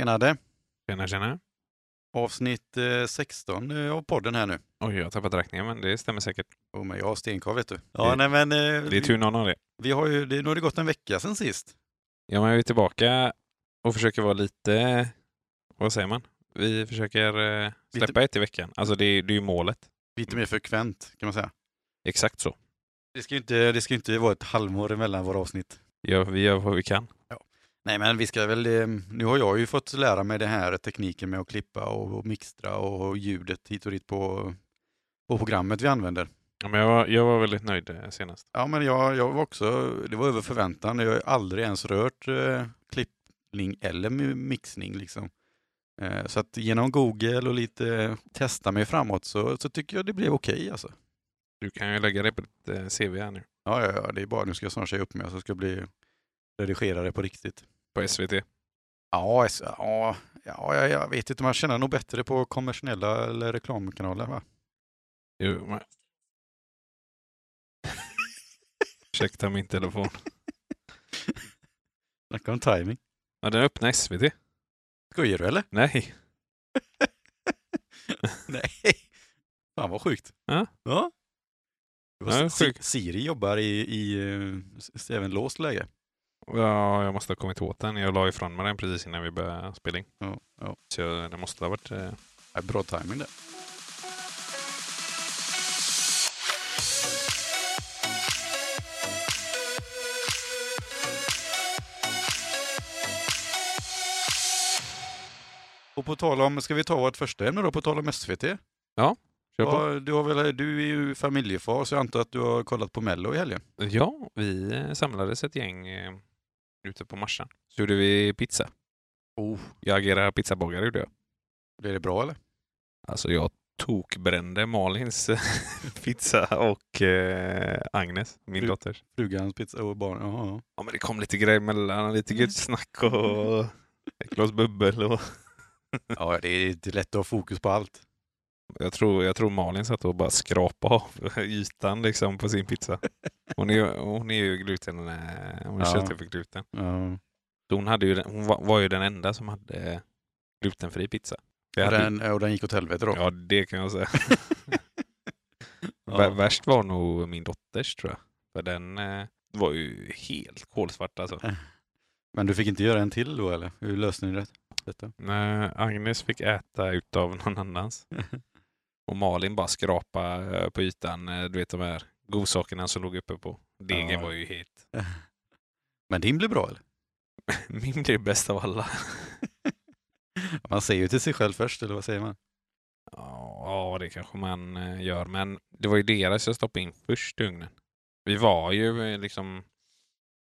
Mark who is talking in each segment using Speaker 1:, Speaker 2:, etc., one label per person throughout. Speaker 1: Tjenade!
Speaker 2: Tjena, tjena.
Speaker 1: Avsnitt eh, 16 eh, av podden här nu.
Speaker 2: Oj, jag har tappat räkningen, men det stämmer säkert.
Speaker 1: Oh, men jag har stenkoll vet du. Ja,
Speaker 2: Det-
Speaker 1: nej, men, eh,
Speaker 2: Det är tur någon har det.
Speaker 1: vi har ju, det, nu har det gått en vecka sedan sist.
Speaker 2: Ja, men vi är tillbaka och försöker vara lite... Vad säger man? Vi försöker eh, släppa ett i veckan. Alltså, det, är- det är ju målet.
Speaker 1: Lite mer frekvent kan man säga.
Speaker 2: Exakt så.
Speaker 1: Mm. Det ska ju inte, det ska ju inte vara ett halvår emellan våra avsnitt.
Speaker 2: Ja, vi gör vad vi kan.
Speaker 1: Nej men vi ska väl, eh, nu har jag ju fått lära mig det här tekniken med att klippa och, och mixtra och ljudet hit och dit på, på programmet vi använder.
Speaker 2: Ja, men jag, var, jag var väldigt nöjd eh, senast.
Speaker 1: Ja men jag, jag var också, det var över förväntan. Jag har aldrig ens rört eh, klippning eller mi- mixning liksom. Eh, så att genom Google och lite eh, testa mig framåt så, så tycker jag det blev okej alltså.
Speaker 2: Du kan ju lägga det på ditt eh, CV här nu.
Speaker 1: Ja, ja, ja, det är bara nu ska jag snart säga upp mig så ska jag bli redigerare på riktigt.
Speaker 2: På SVT.
Speaker 1: Ja, alltså, ja, ja, jag- jag vet inte, man känner nog bättre på kommersiella eller reklamkanaler va?
Speaker 2: Jo, men... Ursäkta min telefon.
Speaker 1: Snacka om timing.
Speaker 2: Ja, den öppnar SVT.
Speaker 1: Skojar du eller?
Speaker 2: Nej.
Speaker 1: Nej. Fan vad sjukt.
Speaker 2: Ja.
Speaker 1: ja. Det var
Speaker 2: Ja, det är
Speaker 1: Si-
Speaker 2: sjukt.
Speaker 1: Siri jobbar i, i eh, s- även låst läge.
Speaker 2: Ja, jag måste ha kommit åt den. Jag la ifrån mig den precis innan vi började spela in.
Speaker 1: Ja, ja.
Speaker 2: Så jag- det måste ha varit... eh,
Speaker 1: Ja, Bra timing det. Och på tal om, ska vi ta vårt första ämne då, på tal om SVT?
Speaker 2: Kör på.
Speaker 1: Ja, du, har väl, du är ju familjefar så jag antar att du har kollat på Mello i helgen?
Speaker 2: Ja, vi eh, samlades ett gäng eh, ute på Marsan. Så gjorde vi pizza.
Speaker 1: Oh.
Speaker 2: Jag agerade pizzabagare gjorde jag.
Speaker 1: Blev det bra eller?
Speaker 2: Alltså jag tokbrände Malins eh, pizza och eh, Agnes, min
Speaker 1: Du-
Speaker 2: dotters.
Speaker 1: Frugans pizza och barn, jaha. ja.
Speaker 2: Ja men det kom lite grejer mellan, lite
Speaker 1: Mm.
Speaker 2: gött snack och ett glas bubbel. Och...
Speaker 1: Ja, det är inte lätt att ha fokus på allt.
Speaker 2: Jag, tror, jag tror Malin satt och bara skrapade av ytan liksom på sin pizza. Hon är, ju- hon är ju gluten, eh, hon är
Speaker 1: Ja.
Speaker 2: köttig för gluten.
Speaker 1: Ja.
Speaker 2: Så hon, hade ju den, hon var, var ju den enda som hade eh, glutenfri pizza. Det
Speaker 1: Och,
Speaker 2: hade,
Speaker 1: den, och den gick åt helvete då.
Speaker 2: Ja, det kan jag säga.
Speaker 1: Ja.
Speaker 2: Vär- Värst var nog min dotters tror jag. För den eh, var ju helt kolsvart alltså.
Speaker 1: Men du fick inte göra en till då eller? Hur löste ni det? Detta?
Speaker 2: Nej, Eh, Agnes fick äta utav någon annans. Och Malin bara skrapa eh, på ytan, eh, du vet de här godsakerna som låg uppe på. Degen
Speaker 1: Ja.
Speaker 2: var ju helt...
Speaker 1: Men din blev bra eller?
Speaker 2: Min blev bäst av alla.
Speaker 1: Man säger ju till sig själv först, eller vad säger man?
Speaker 2: Ja, det kanske man eh, gör, men det var ju deras jag stoppade in först i ugnen. Vi var ju eh, liksom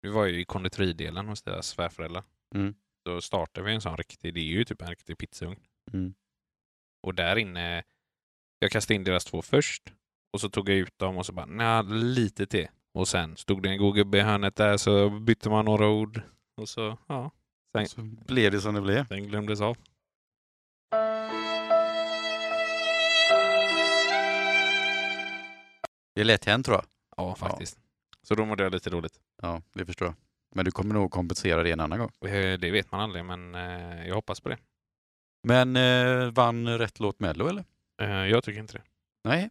Speaker 2: vi var ju i konditoridelen hos deras svärföräldrar.
Speaker 1: Mm.
Speaker 2: Då startade vi en sån riktig, det är ju typ en riktig pizzaugn.
Speaker 1: Mm.
Speaker 2: Och där inne, jag kastade in deras två först och så tog jag ut dem och så bara, nja, lite till. Och sen stod det en god gubbe i hörnet där så bytte man några ord och så, ja, Nej.
Speaker 1: Så blev det som det blev.
Speaker 2: den glömdes av.
Speaker 1: Det är lätt hänt tror jag.
Speaker 2: Ja, faktiskt. Så då mådde jag lite dåligt.
Speaker 1: Ja, det förstår jag. Men du kommer nog kompensera det en annan gång.
Speaker 2: Eh, Det vet man aldrig, men eh, jag hoppas på det.
Speaker 1: Men eh, vann rätt låt Mello eller?
Speaker 2: Eh, Jag tycker inte det.
Speaker 1: Nej,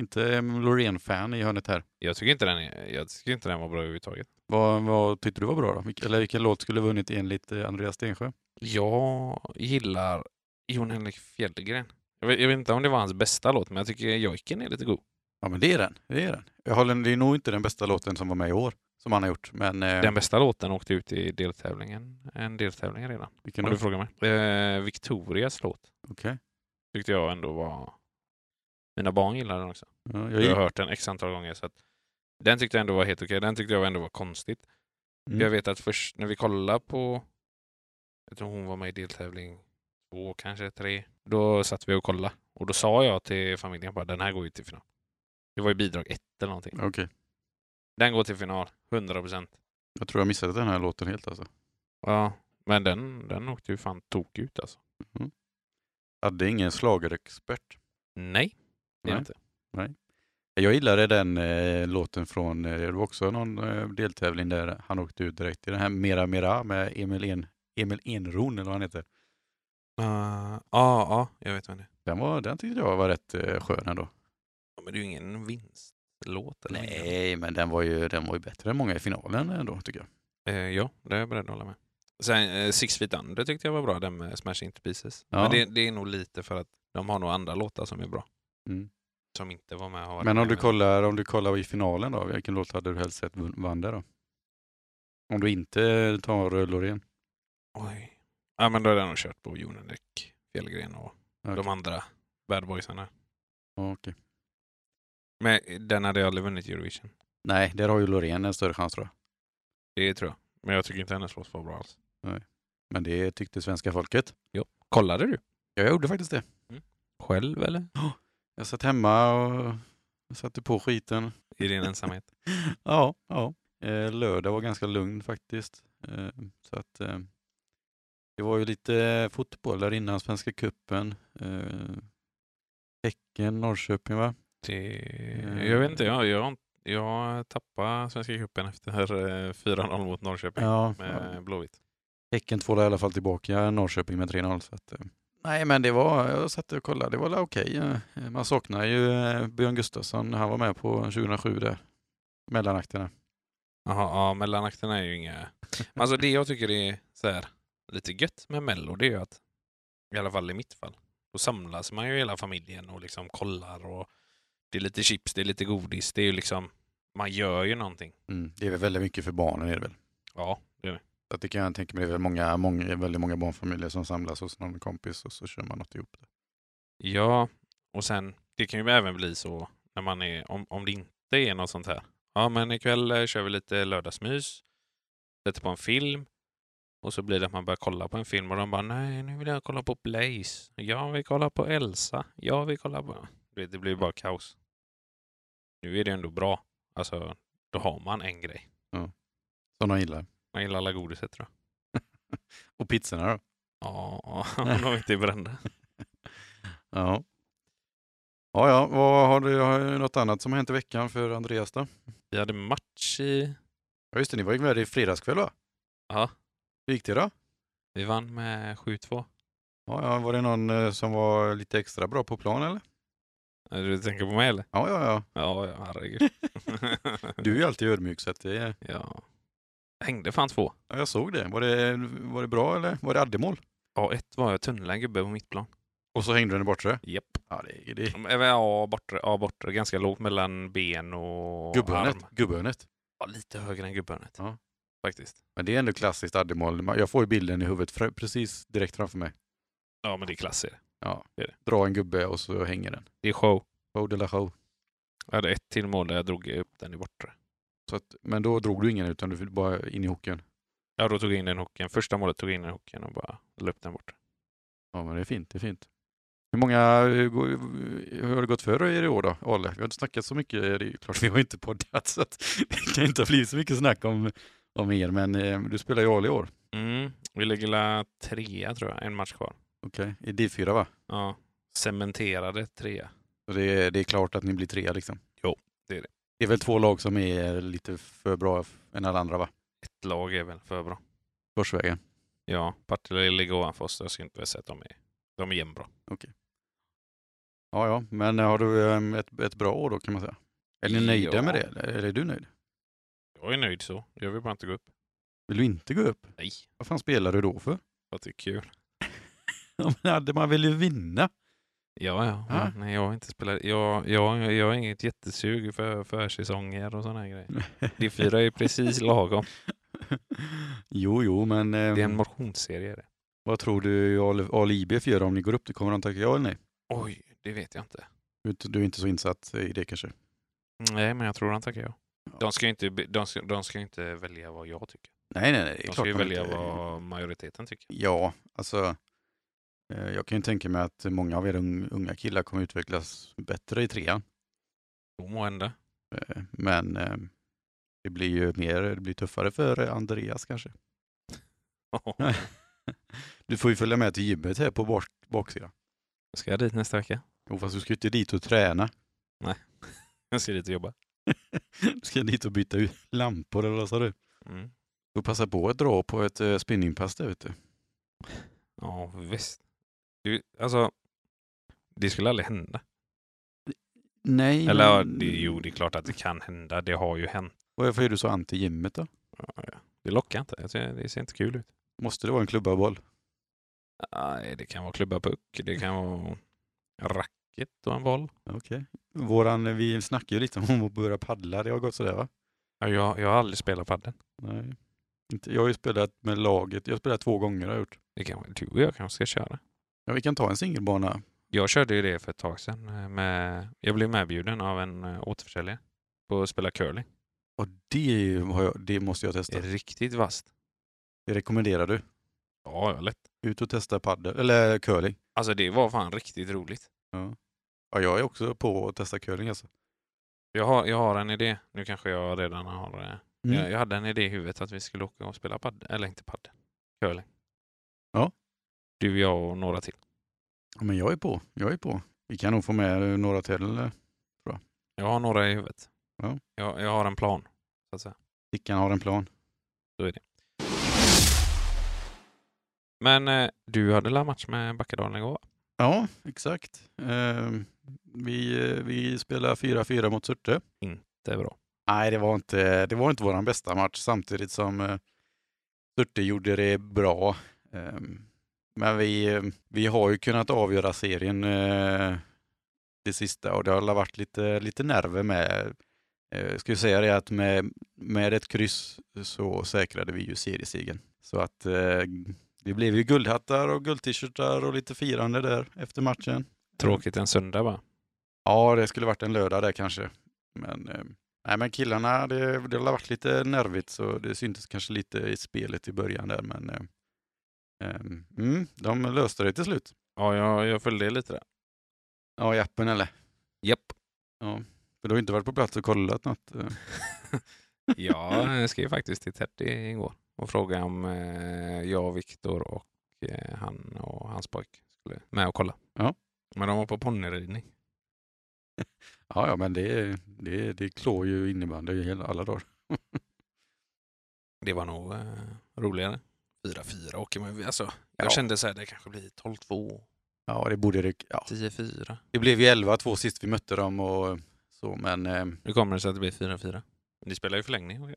Speaker 1: inte mm, Loreen-fan i hörnet här.
Speaker 2: Jag tycker inte den, är, jag tycker inte den var bra överhuvudtaget.
Speaker 1: Vad, vad tyckte du var bra då? Vilk, eller vilken låt skulle vunnit enligt eh, Andreas Stensjö?
Speaker 2: Jag gillar Jon Henrik Fjällgren. Jag vet, jag vet inte om det var hans bästa låt, men jag tycker Jojken är lite god.
Speaker 1: Ja men det är den, det är den. Jag håller, det är nog inte den bästa låten som var med i år, som han har gjort. Men eh,
Speaker 2: Den bästa låten åkte ut i deltävlingen, en deltävling redan,
Speaker 1: vilken
Speaker 2: om
Speaker 1: då?
Speaker 2: du frågar mig. Eh, Victorias låt
Speaker 1: Okej.
Speaker 2: tyckte jag ändå var... Mina barn gillar den också.
Speaker 1: Ja, jag
Speaker 2: Jag
Speaker 1: gick...
Speaker 2: har hört den x antal gånger. Så att den tyckte jag ändå var helt okej. Den tyckte jag ändå var konstigt. För Jag
Speaker 1: mm.
Speaker 2: vet att först när vi kollade på, jag tror hon var med i deltävling två, kanske tre. Då satt vi och kollade och då sa jag till familjen bara den här går ju till final. Det var ju bidrag ett eller någonting.
Speaker 1: Okej,
Speaker 2: Den går till final, 100 procent.
Speaker 1: jag tror jag missade den här låten helt alltså.
Speaker 2: Ja, men den, den åkte ju fan tok ut alltså.
Speaker 1: Mm. Ja, det är ingen schlagerexpert.
Speaker 2: Nej, det är
Speaker 1: Nej.
Speaker 2: inte.
Speaker 1: Jag gillade den eh, låten från, eh, det var också någon eh, deltävling där han åkte ut direkt i den här Mera Mera med Emil, en, Emil Enron eller vad han heter.
Speaker 2: Ah, ja, ja, jag vet vad det är.
Speaker 1: Den, var, den tyckte jag var rätt eh, skön ändå.
Speaker 2: Ja, Men det är ju ingen vinstlåt. Eller någonting.
Speaker 1: Nej, men den var, ju, den var ju bättre än många i finalen ändå tycker jag.
Speaker 2: Eh, ja, det är jag beredd att hålla med. Sen eh, Six Feet Under tyckte jag var bra, den med Smash Into Pieces.
Speaker 1: Ja.
Speaker 2: Men det, det är nog lite för att de har nog andra låtar som är bra.
Speaker 1: Mm.
Speaker 2: Som inte var med. och har varit
Speaker 1: Men om
Speaker 2: med,
Speaker 1: du, kollar, om du kollar i finalen då, vilken låt hade du helst sett vun- vann där då? Om du inte tar Loreen?
Speaker 2: Oj. Ja, men då hade jag nog kört på Jonendek, Fjällgren och de
Speaker 1: Okej.
Speaker 2: andra bad boysarna.
Speaker 1: Ja, okej.
Speaker 2: Men eh, den hade jag aldrig vunnit Eurovision.
Speaker 1: Nej, där har ju Loreen en större chans tror jag.
Speaker 2: Det tror jag. Men jag tycker inte hennes låt var bra alls.
Speaker 1: Men det tyckte svenska folket.
Speaker 2: Kollade du?
Speaker 1: Ja, jag gjorde faktiskt det.
Speaker 2: Själv eller?
Speaker 1: Jag satt hemma och satte på skiten.
Speaker 2: I din ensamhet?
Speaker 1: Ja, ja. Eh, lördag var ganska lugn faktiskt. Eh, så att, eh, det var ju lite fotboll där innan Svenska cupen. Eh, Häcken, Norrköping va?
Speaker 2: Det...
Speaker 1: Eh.
Speaker 2: Jag vet inte, jag, jag, har inte- jag tappade Svenska cupen efter eh, 4-0 mot Norrköping
Speaker 1: Ja,
Speaker 2: med Blåvitt.
Speaker 1: Häcken tvålade i alla fall tillbaka Norrköping med 3-0. Så att, eh. Nej men det var, jag satt och kollade, det var väl okej. Eh, Man saknar ju eh, Björn Gustafsson, han var med på 2007 där. Mellanakterna.
Speaker 2: Jaha, ja, mellanakterna är ju inga... Men alltså det jag tycker är så här, lite gött med Mello, det är ju att, i alla fall i mitt fall, då samlas man ju hela familjen och liksom kollar och det är lite chips, det är lite godis, det är ju liksom, man gör ju någonting.
Speaker 1: Mm. Det är väl väldigt mycket för barnen är det väl?
Speaker 2: Ja, det är det.
Speaker 1: Att det kan jag tänka mig, det är väl många, många, väldigt många barnfamiljer som samlas hos någon kompis och så kör man något ihop. Det.
Speaker 2: Ja, och sen, det kan ju även bli så när man är, om, om det inte är något sånt här. Ja, men ikväll eh, kör vi lite lördagsmys, sätter på en film och så blir det att man börjar kolla på en film och de bara nej, nu vill jag kolla på Blaze. Jag vill kolla på Elsa. Jag vill kolla på... Du vet, Det blir ju bara kaos. Nu är det ändå bra. Alltså, då har man en grej.
Speaker 1: Som de gillar.
Speaker 2: Man gillar alla godiset tror jag.
Speaker 1: Och pizzorna då?
Speaker 2: Ja, om de inte är brända.
Speaker 1: Ja. Ja, ja. Vad, har, du, har du något annat som har hänt i veckan för Andreas då?
Speaker 2: Vi hade match i...
Speaker 1: Ja just det, ni var ju med i fredagskväll va?
Speaker 2: Ja,
Speaker 1: Hur gick det då?
Speaker 2: vi vann med 7-2.
Speaker 1: Ja, ja, var det någon eh, som var lite extra bra på plan eller?
Speaker 2: Eh, Du tänker på mig eller?
Speaker 1: Ja, ja, ja.
Speaker 2: Ja, ja herregud.
Speaker 1: Du är ju alltid ödmjuk så att det,
Speaker 2: ja. Hängde fan två.
Speaker 1: ja, jag såg det. Var, det. var det bra eller var det addemål?
Speaker 2: Ja, ett var jag tunnlade en gubbe på mittplan.
Speaker 1: Och så hängde den i bortre?
Speaker 2: Japp.
Speaker 1: Ja, det, det.
Speaker 2: Ja, bortre, ja, bortre. Ganska lågt mellan ben och
Speaker 1: Gubbhörnet.
Speaker 2: arm.
Speaker 1: Gubbhörnet.
Speaker 2: Ja, lite högre än gubbhörnet.
Speaker 1: Ja.
Speaker 2: Faktiskt.
Speaker 1: Men det är ändå klassiskt addemål. Man- Jag får ju bilden i huvudet fr- precis direkt framför mig.
Speaker 2: Ja, men det är klass i det.
Speaker 1: Dra en gubbe och så hänger den.
Speaker 2: Det är show.
Speaker 1: Show de la show.
Speaker 2: Jag hade ett till mål där jag drog upp den i bortre.
Speaker 1: Så att, men då drog du ingen utan du fick bara in i hockeyn.
Speaker 2: Ja, då tog jag in den hooken. Första målet tog jag in den hooken och bara la upp den bort.
Speaker 1: Ja men det är fint, det är fint. Hur många hur går- hur har det gått för er i år då, Olle? Vi har inte snackat så mycket, det är ju klart vi har inte poddat så att det kan inte ha blivit så mycket snack om, om er men eh, du spelar ju Arle i år.
Speaker 2: Mm. Vi ligger la trea tror jag, en match kvar.
Speaker 1: Okej, i D4 va?
Speaker 2: Ja. Cementerade trea.
Speaker 1: Så det, är- det är klart att ni blir trea liksom?
Speaker 2: Jo, det är det.
Speaker 1: Det är väl två lag som är lite för bra f- än alla andra va?
Speaker 2: Ett lag är väl för bra.
Speaker 1: Korsvägen.
Speaker 2: Ja, Partille ligger ovanför oss. Jag skulle inte vilja säga att de är, de är jämnbra.
Speaker 1: Ja, ja, men har du ehm, ett, ett bra år då kan man säga? Är ni nöjda
Speaker 2: Ja.
Speaker 1: med det? Eller eller är du nöjd?
Speaker 2: Jag är nöjd så. Jag vill bara inte gå upp.
Speaker 1: Vill du inte gå upp?
Speaker 2: Nej,
Speaker 1: Vad fan spelar du då för?
Speaker 2: för att det är kul.
Speaker 1: Ja, men hade man vill ju vinna.
Speaker 2: Ja, ja.
Speaker 1: Ja.
Speaker 2: Men, nej, jag har inte spelat. Jag, jag, jag har inget jättesug för försäsonger och sådana grejer. Det fyra är precis lagom.
Speaker 1: jo, jo, men ehm,
Speaker 2: Det är en motionsserie. Det.
Speaker 1: vad tror du Ali- Ali IBF gör om ni går upp? Det kommer de tacka ja eller nej?
Speaker 2: Oj, det vet jag inte.
Speaker 1: Du är inte- Du är inte så insatt i det kanske?
Speaker 2: Nej, men jag tror han tackar ja. De ska ju inte, be- de ska, de ska ju inte välja vad jag tycker.
Speaker 1: Nej, nej, nej. Det är
Speaker 2: De
Speaker 1: klart
Speaker 2: ska ju
Speaker 1: de
Speaker 2: välja
Speaker 1: inte-
Speaker 2: vad majoriteten tycker.
Speaker 1: Ja, alltså. eh, Jag kan ju tänka mig att många av er un- unga killar kommer utvecklas bättre i trean.
Speaker 2: Jo, måhända.
Speaker 1: Eh, Men eh, det blir ju mer, det blir tuffare för Andreas kanske. Du får ju följa med till gymmet här på bak baksidan.
Speaker 2: Ska jag dit nästa vecka?
Speaker 1: Jo, fast du ska ju inte dit och träna.
Speaker 2: Jag ska dit och jobba.
Speaker 1: Du ska dit och byta ut lampor eller vad sa du?
Speaker 2: Mm.
Speaker 1: Du passar på att dra på ett eh, spinningpass där ute.
Speaker 2: Ja, visst. Du, alltså, det skulle aldrig hända.
Speaker 1: Nej.
Speaker 2: Eller ja, det, jo, det är klart att det kan hända. Det har ju hänt.
Speaker 1: Varför är du så anti gymmet då?
Speaker 2: Ja, ja. Det lockar inte. Jag tycker- Det ser inte kul ut.
Speaker 1: Måste det vara en klubbaboll?
Speaker 2: Nej, det kan vara klubba puck. Det kan vara racket och en boll.
Speaker 1: Våran, vi snackade ju lite om att börja paddla, det har gått sådär va?
Speaker 2: Ja, jag, jag har aldrig spelat padel.
Speaker 1: Nej. Inte, jag har ju spelat med laget, jag har spelat två gånger har jag gjort.
Speaker 2: Det kan, du och jag kanske ska köra.
Speaker 1: Ja, vi kan ta en singelbana. jag
Speaker 2: Jag körde ju det för ett tag sedan. eh, Med, jag blev medbjuden av en eh, återförsäljare på att spela curling.
Speaker 1: Och det, har jag, det måste jag
Speaker 2: Det
Speaker 1: testa.
Speaker 2: är riktigt vasst.
Speaker 1: Det rekommenderar du.
Speaker 2: Ja, ja, lätt.
Speaker 1: Ut och testa paddel, eller curling.
Speaker 2: Alltså det var fan riktigt roligt.
Speaker 1: Ja, jag är också på att testa curling alltså.
Speaker 2: Jag har, jag har en idé. Nu kanske jag redan har... eh,
Speaker 1: Mm.
Speaker 2: Jag, jag hade en idé i huvudet att vi skulle åka och spela padel. Eller inte padel. Curling.
Speaker 1: Ja.
Speaker 2: Du, jag och några till.
Speaker 1: Ja, men jag är på, jag är på. Vi kan nog få med eh, några till. eller?
Speaker 2: Jag har några i huvudet.
Speaker 1: Ja.
Speaker 2: Jag, jag har en plan. Så att säga.
Speaker 1: Stickan har en plan.
Speaker 2: Men eh, du hade la match med Backadalen igår? va?
Speaker 1: Ja, exakt. Ehm, vi, eh, vi spelar 4-4 mot Surte.
Speaker 2: Det är bra.
Speaker 1: Nej, det var inte, det var inte vår bästa match samtidigt som eh, Surte gjorde det bra. Ehm, men vi, eh, vi har ju kunnat avgöra serien eh, det sista och det har varit lite, lite nerver med. Eh, jag skulle säga det att med, med ett kryss så säkrade vi ju seriesegern. Så att eh, det blev ju guldhattar och guldt-shirtar och lite firande där efter matchen.
Speaker 2: Tråkigt en söndag va?
Speaker 1: Ja, det skulle varit en lördag där kanske. Men, eh, nej, men killarna, det, det har varit lite nervigt så det syntes kanske lite i spelet i början där. Men eh, eh, mm, de löste det till slut.
Speaker 2: Ja, jag, jag följde lite där.
Speaker 1: Ja, i appen eller?
Speaker 2: Japp.
Speaker 1: Ja, för du har inte varit på plats och kollat något. eh.
Speaker 2: Ja, jag skrev faktiskt till Teddy igår och frågade om eh, jag, Viktor och eh, han och hans pojk skulle med och kolla.
Speaker 1: Ja.
Speaker 2: Men de var på ponnyridning.
Speaker 1: Ja, ja men det, det, det klår ju innebandy i hela- alla dagar.
Speaker 2: Det var nog eh, roligare. 4-4 åker man ju. Alltså,
Speaker 1: Ja.
Speaker 2: Jag kände så här, det kanske blir 12-2,
Speaker 1: Ja, det borde det. Ja.
Speaker 2: 10-4.
Speaker 1: Det blev ju 11-2 sist vi mötte dem och så, men eh,
Speaker 2: Nu kommer det sig att det blir 4-4. Ni spelar ju förlängning. okej?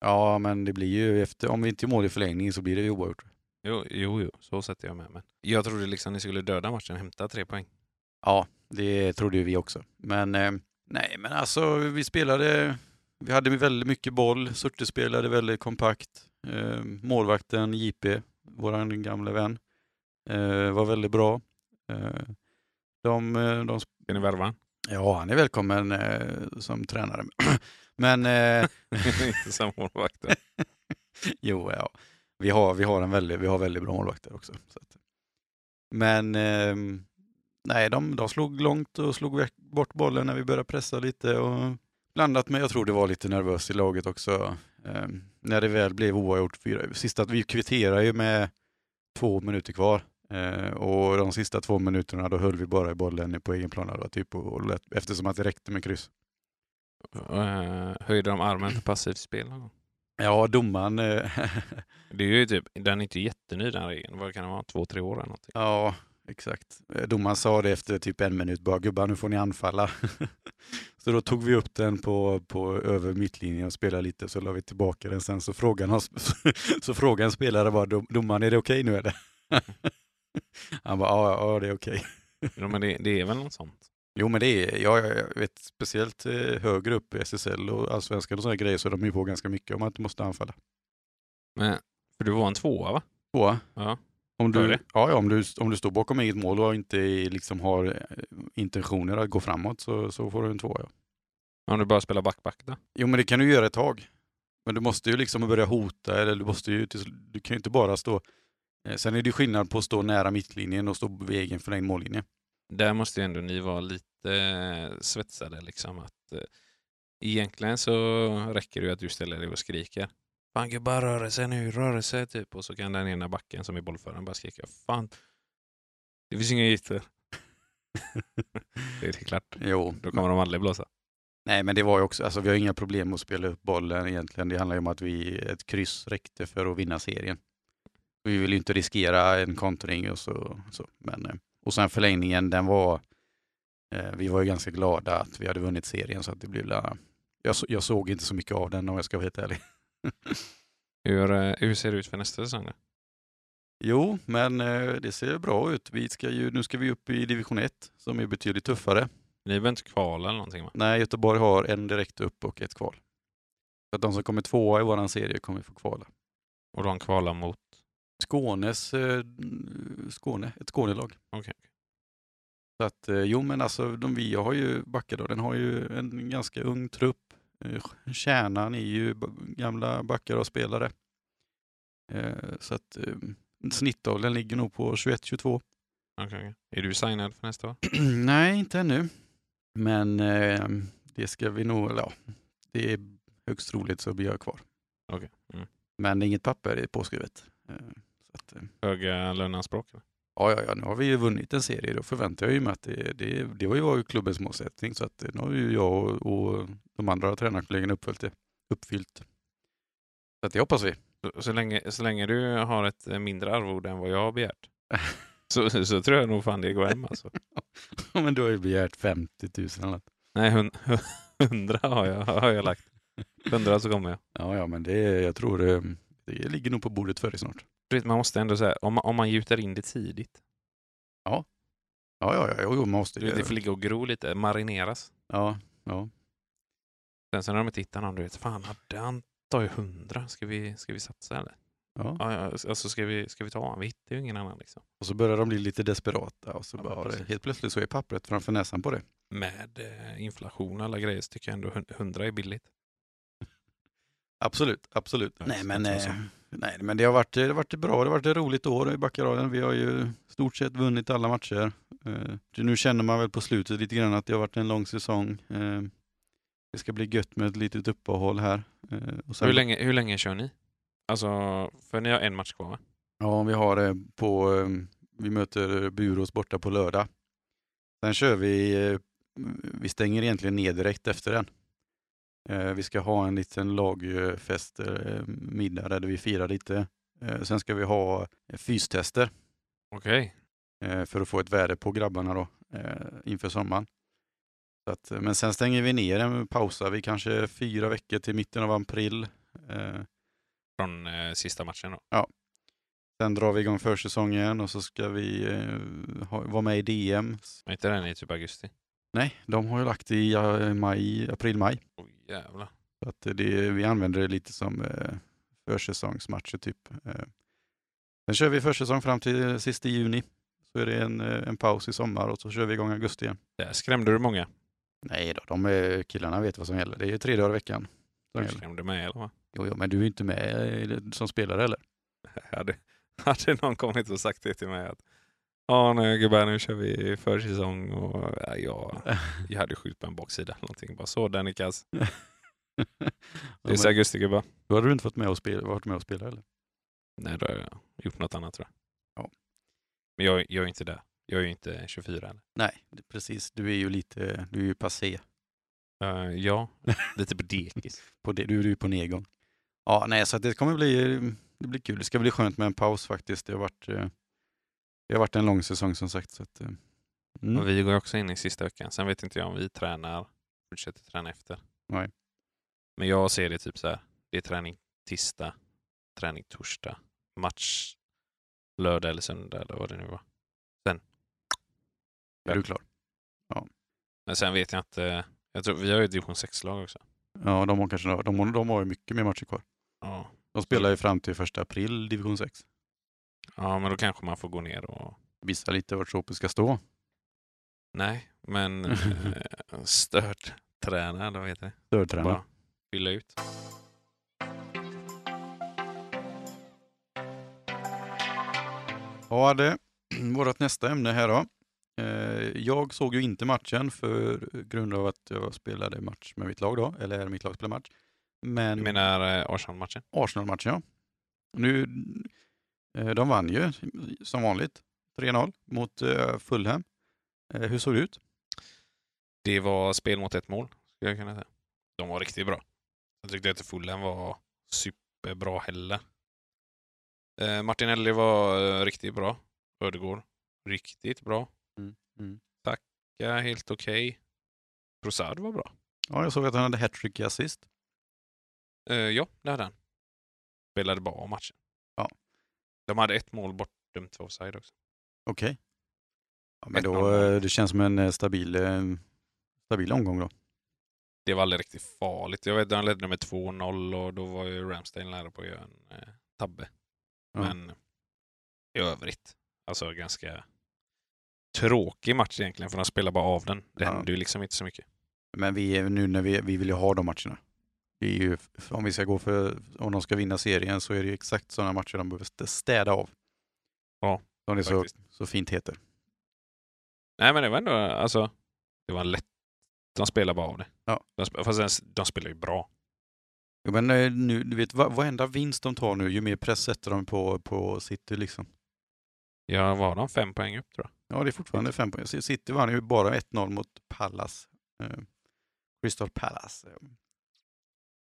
Speaker 1: ja, men det blir ju efter, om vi inte gör mål i förlängning så blir det ju oavgjort.
Speaker 2: Jo, jo, jo, så sätter jag med. Men jag trodde liksom ni skulle döda matchen, hämta tre poäng.
Speaker 1: Ja, det trodde ju vi också. Men eh, nej, men alltså vi spelade, vi hade väldigt mycket boll, Surte spelade väldigt kompakt. Eh, målvakten JP, våran gamla vän, eh, var väldigt bra. Eh, de, eh, de,
Speaker 2: Ska ni värva?
Speaker 1: ja, han är välkommen eh, som tränare. Men eh,
Speaker 2: Inte som målvakter.
Speaker 1: Jo, ja. Vi har, vi har, en väldigt, vi har väldigt bra målvakter också. Så att. Men ehm, nej, de, de slog långt och slog väck- bort bollen när vi började pressa lite. Och blandat med, jag tror det var lite nervöst i laget också, ehm, när det väl blev oavgjort. fyra- Sista, vi kvitterade ju med två minuter kvar. Eh, och de sista två minuterna då höll vi bara i bollen på egen plan, då, typ, och, och lät, eftersom att det räckte med kryss.
Speaker 2: Eh, höjde de armen för passivt spel någon gång?
Speaker 1: Ja, domaren, eh,
Speaker 2: Det är ju typ, den är inte jätteny den regeln. Vad kan det vara? Två, tre år eller någonting.
Speaker 1: Ja, exakt. Eh, Domaren sa det efter typ en minut bara, gubbar nu får ni anfalla. så då tog vi upp den på, på över mittlinjen och spelade lite, så la vi tillbaka den sen. Så frågan, har, så frågan spelare var, "Dom- domaren är det okej nu eller? Han bara, ja, ja, ja det är okej.
Speaker 2: Ja, men det, det är väl något sånt.
Speaker 1: Jo men det är, ja, jag, jag vet speciellt eh, högre upp i SSL och allsvenskan och sådana grejer så är de ju på ganska mycket om att du måste anfalla.
Speaker 2: Men, för du var en tvåa va?
Speaker 1: Tvåa.
Speaker 2: Ja.
Speaker 1: Om
Speaker 2: Hör
Speaker 1: du,
Speaker 2: det.
Speaker 1: ja, ja, om, du, om du står bakom eget mål och inte i- liksom har eh, intentioner att gå framåt så, så får du en tvåa. Ja.
Speaker 2: Om du bara spelar back-back då?
Speaker 1: Jo, men det kan du göra ett tag. Men du måste ju liksom börja hota eller du måste ju, till- du kan ju inte bara stå. eh, Sen är det ju skillnad på att stå nära mittlinjen och stå vid egen förlängd mållinje.
Speaker 2: Där måste ju ändå ni vara lite eh, svetsade liksom att eh, egentligen så räcker det ju att du ställer dig och skriker. Fan gubbar rör sig nu, rör sig typ. Och så kan den ena backen som är bollföraren bara skrika fan. Det finns inga ytor. Det är klart.
Speaker 1: Jo,
Speaker 2: Då kommer de aldrig blåsa.
Speaker 1: nej men det var ju också, alltså vi har inga problem med att spela upp bollen egentligen. Det handlar ju om att vi, ett kryss räckte för att vinna serien. Vi vill ju inte riskera en kontring och så. så. Men eh, Och sen förlängningen, den var... Eh, vi var ju ganska glada att vi hade vunnit serien så att det blev... la- Jag, så- jag såg inte så mycket av den om jag ska vara helt ärlig.
Speaker 2: Hur, eh, hur ser det ut för nästa säsong? Då?
Speaker 1: Jo, men eh, det ser bra ut. Vi ska ju, nu ska vi upp i division 1 som är betydligt tuffare.
Speaker 2: Ni behöver inte kvala eller någonting va?
Speaker 1: Nej, Göteborg har en direkt upp och ett kval. Så att de som kommer tvåa i våran serie kommer få kvala.
Speaker 2: Och de kvalar mot...
Speaker 1: Skånes, eh, Skåne, ett Skånelag.
Speaker 2: Okej.
Speaker 1: Så att, eh, jo men alltså, de, vi har ju, Backadalen har ju en ganska ung trupp. Eh, Kärnan är ju b- gamla Backadalspelare. Eh, så att eh, snittåldern ligger nog på 21-22.
Speaker 2: Okej, okej. Är du signad för nästa år?
Speaker 1: Nej, inte ännu. Men eh, det ska vi nog, eller ja, det är högst troligt så blir jag kvar.
Speaker 2: Okej. Mm.
Speaker 1: Men det är inget papper är påskrivet. Eh, så att, eh,
Speaker 2: Höga löneanspråk? eller?
Speaker 1: ja, ja, ja, nu har vi ju vunnit en serie. Då förväntar jag ju mig att det, det, det var ju var ju klubbens målsättning. Så att eh, nu har ju jag och, och de andra tränarkollegorna uppfyllt det. Uppfyllt. Så att det hoppas vi.
Speaker 2: Så, så, länge, så länge du har ett eh, mindre arvode än vad jag har begärt så, så tror jag nog fan det går hem alltså.
Speaker 1: Men du har ju begärt 50 000 eller något.
Speaker 2: Nej, hun- hundra har jag, har jag lagt. Hundra så kommer jag.
Speaker 1: Ja, ja, men det, jag tror eh, det ligger nog på bordet för dig snart.
Speaker 2: Du vet, Man måste ändå säga, om, man- om man gjuter in det tidigt.
Speaker 1: Ja, ja, ja, jo, jo, man måste
Speaker 2: Du vet, det får ligga och gro lite, marineras.
Speaker 1: Ja, ja.
Speaker 2: Sen så när de inte hittar någon, du vet, fan hade han tar ju hundra, ska vi, ska vi satsa eller?
Speaker 1: ja.
Speaker 2: Ja, ja, alltså ska vi, ska vi ta honom? Vi hittar ju ingen annan liksom.
Speaker 1: Och så börjar de bli lite desperata och så
Speaker 2: Ja, men
Speaker 1: bara,
Speaker 2: precis.
Speaker 1: helt plötsligt så är pappret framför näsan på det.
Speaker 2: Med eh, inflation och alla grejer så tycker jag ändå hun- hundra är billigt.
Speaker 1: Absolut, absolut.
Speaker 2: Ja,
Speaker 1: nej,
Speaker 2: så-
Speaker 1: men,
Speaker 2: så-
Speaker 1: eh,
Speaker 2: så.
Speaker 1: nej, men det har varit, det har varit bra. Det har varit ett roligt år i Backaraden. Vi har ju stort sett vunnit alla matcher. Eh, nu känner man väl på slutet lite grann att det har varit en lång säsong. Eh, det ska bli gött med ett litet uppehåll här. Eh, och sen-
Speaker 2: Hur länge, hur länge kör ni? Alltså, för ni har en match kvar va?
Speaker 1: Ja, vi har eh, på, eh, vi möter Burås borta på lördag. Sen kör vi, eh, vi stänger egentligen ner direkt efter den. Eh, Vi ska ha en liten lagfest, eh, middag där vi firar lite. Eh, Sen ska vi ha eh, fystester
Speaker 2: Okej.
Speaker 1: eh, för att få ett värde på grabbarna då eh, inför sommaren. Så att, eh, men sen stänger vi ner den, pausar vi kanske fyra veckor till mitten av april. Eh,
Speaker 2: Från eh, sista matchen då.
Speaker 1: Sen drar vi igång försäsongen och så ska vi eh, ha, vara med i DM.
Speaker 2: Var inte den i typ augusti?
Speaker 1: Nej, de har ju lagt det i eh, maj, april-maj.
Speaker 2: Åh jävlar.
Speaker 1: Så att eh, det, vi använder det lite som eh, försäsongsmatcher typ. Eh. Sen kör vi försäsong fram till sista juni. Så är det en, eh, en paus i sommar och så kör vi igång i augusti igen.
Speaker 2: Där skrämde du många.
Speaker 1: Nej då, de eh, killarna vet vad som gäller. Det är tre dagar i veckan. som
Speaker 2: Du
Speaker 1: gäller.
Speaker 2: skrämde mig eller vad?
Speaker 1: Jo, jo, men du är ju inte med eh, som spelare heller.
Speaker 2: Hade, hade någon kommit och sagt det till mig att Ja nu gubbar, nu kör vi försäsong och ja, jag, jag hade skyllt på en baksida eller någonting. Bara så, den är kass.
Speaker 1: Ja,
Speaker 2: Det är så
Speaker 1: men
Speaker 2: augusti gubbar.
Speaker 1: Då hade du inte fått med och spela, varit med och spela eller?
Speaker 2: Nej, då har jag gjort något annat tror jag.
Speaker 1: Ja.
Speaker 2: Men jag, jag är inte där. Jag är ju inte 24 än.
Speaker 1: Nej, precis. Du är ju lite, du är ju passé.
Speaker 2: Eh, ja, lite på dekis.
Speaker 1: på det, du är ju på nedgång. Ja, nej, så att det kommer bli, det blir kul. Det ska bli skönt med en paus faktiskt. Det har varit, eh, det har varit en lång säsong som sagt. Så att, eh,
Speaker 2: Och
Speaker 1: mm.
Speaker 2: vi går också in i sista veckan. Sen vet inte jag om vi tränar, fortsätter träna efter.
Speaker 1: Nej.
Speaker 2: Men jag ser det typ så här. Det är träning tisdag, träning torsdag, match lördag eller söndag eller vad det nu var.
Speaker 1: Är du klar?
Speaker 2: Men sen vet jag inte. Jag tror, vi har ju ett division 6-lag också.
Speaker 1: Ja, de har, kanske, de, har- de har ju mycket mer matcher kvar.
Speaker 2: Ja.
Speaker 1: De spelar ju fram till första april, division 6.
Speaker 2: ja, men då kanske man får gå ner och...
Speaker 1: Vissa lite vart Sopel ska stå.
Speaker 2: Nej, men eh, stört träna, eller vad heter det?
Speaker 1: Dörrtränare.
Speaker 2: Bara fylla ut.
Speaker 1: Ja, det vårt nästa ämne här då. Eh, Jag såg ju inte matchen för grund av att jag spelade match med mitt lag då, eller mitt lag spelade match. Men...
Speaker 2: Du menar eh, Arsenal-matchen?
Speaker 1: Arsenal-matchen, ja. Nu, eh, de vann ju som vanligt. 3-0 mot eh, Fulham. Eh, Hur såg det ut?
Speaker 2: Det var spel mot ett mål, skulle jag kunna säga. De var riktigt bra. Jag tyckte inte Fulham var superbra heller. Eh, Martinelli var eh, riktigt bra. Ödegård Riktigt bra.
Speaker 1: Mm, mm.
Speaker 2: Saka helt okej. Trossard var bra.
Speaker 1: Ja, jag såg att han hade hattrick i assist.
Speaker 2: Eh, ja, det hade han. Spelade bra matchen.
Speaker 1: Ja.
Speaker 2: De hade ett mål bortdömt för offside också.
Speaker 1: Okej. Ja, men
Speaker 2: 1-0
Speaker 1: då, eh, det känns som en eh, stabil, eh, stabil omgång då.
Speaker 2: Det var aldrig riktigt farligt. Jag vet att han ledde med 2-0 och då var ju Ramstein nära på att göra en eh, tabbe.
Speaker 1: Ja.
Speaker 2: Men i övrigt, alltså ganska tråkig match egentligen för de spelar bara av den. Det
Speaker 1: Ja.
Speaker 2: hände ju liksom inte så mycket.
Speaker 1: Men vi är nu när vi, vi vill ju ha de matcherna. Det är ju, om vi ska gå för, om de ska vinna serien så är det ju exakt sådana matcher de behöver stä- städa av.
Speaker 2: Ja,
Speaker 1: Som det så,
Speaker 2: faktiskt.
Speaker 1: så fint heter.
Speaker 2: Nej men det var ändå, alltså, det var en lätt... De spelar bara av det.
Speaker 1: Ja.
Speaker 2: De sp- fast sen, de spelar ju bra.
Speaker 1: Ja, Men eh, nu, du vet, va- varenda vinst de tar nu, ju mer press sätter de på, på City liksom.
Speaker 2: Ja, var de fem poäng upp tror jag.
Speaker 1: Ja, det är fortfarande fem poäng. City vann ju bara 1-0 mot Palace. Eh, Crystal Palace.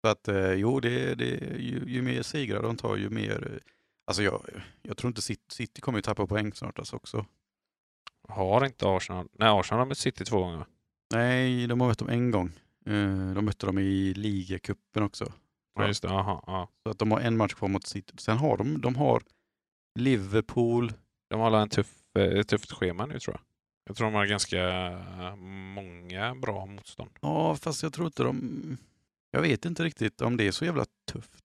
Speaker 1: Så att eh, jo, det, det, ju, ju mer segrar de tar, ju mer... Eh, alltså jag, jag tror inte City, City kommer ju tappa poäng snart alltså också.
Speaker 2: Har inte Arsenal... Nej, Arsenal har mött City två gånger va?
Speaker 1: Nej, de har mött dem en gång. Eh, de mötte dem i ligacupen också.
Speaker 2: Ja, just det. Aha, ja.
Speaker 1: Så att de har en match kvar mot City. Sen har de, de har Liverpool.
Speaker 2: De har alla en tuff, eh, tufft schema nu tror jag. Jag tror de har ganska eh, många bra motstånd.
Speaker 1: Ja, fast jag tror inte de... Jag vet inte riktigt om det är så jävla tufft.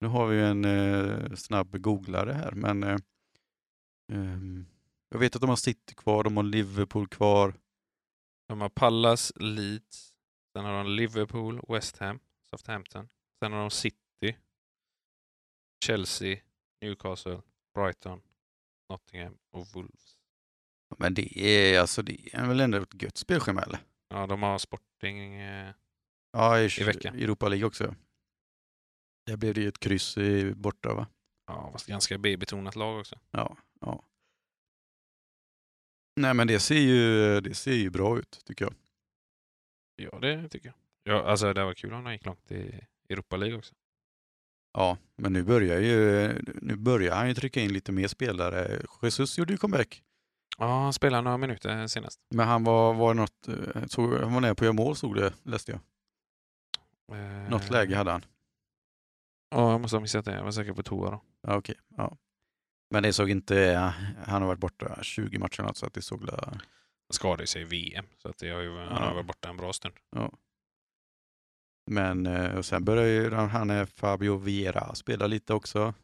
Speaker 1: Nu har vi ju en eh, snabb googlare här, men eh, ehm, jag vet att de har City kvar, de har Liverpool kvar.
Speaker 2: De har Pallas, Leeds, sen har de Liverpool, West Ham, Southampton. Sen har de City, Chelsea, Newcastle, Brighton, Nottingham och Wolves.
Speaker 1: Men det är alltså det är väl ändå ett gött spelschema eller?
Speaker 2: Ja, de har Sporting. eh,
Speaker 1: Ja, i,
Speaker 2: I veckan.
Speaker 1: Europa League också. Där blev det ju ett kryss i, borta va?
Speaker 2: Ja, fast ganska B-betonat lag också.
Speaker 1: Ja, ja. Nej men det ser ju, det ser ju bra ut tycker jag.
Speaker 2: Ja, det tycker jag. Ja, alltså det var kul om de gick långt i Europa League också.
Speaker 1: Ja, men nu börjar ju, nu börjar han ju trycka in lite mer spelare. Jesus gjorde ju comeback.
Speaker 2: Ja, han spelade några minuter senast.
Speaker 1: Men han var, var något, eh, såg, han var nära på att göra mål såg det, läste jag.
Speaker 2: Eh,
Speaker 1: Något läge hade han.
Speaker 2: Ja, jag måste ha missat det. Jag var säkert på toa då.
Speaker 1: Ja, okej. Ja. Men det såg inte, han har varit borta 20 matcher något, så att det såg la-
Speaker 2: Han skadade sig i VM, så att jag har ju, han
Speaker 1: Ja.
Speaker 2: har varit borta en bra stund.
Speaker 1: Men eh, och sen börjar ju den- han är Fabio Vieira spela lite också.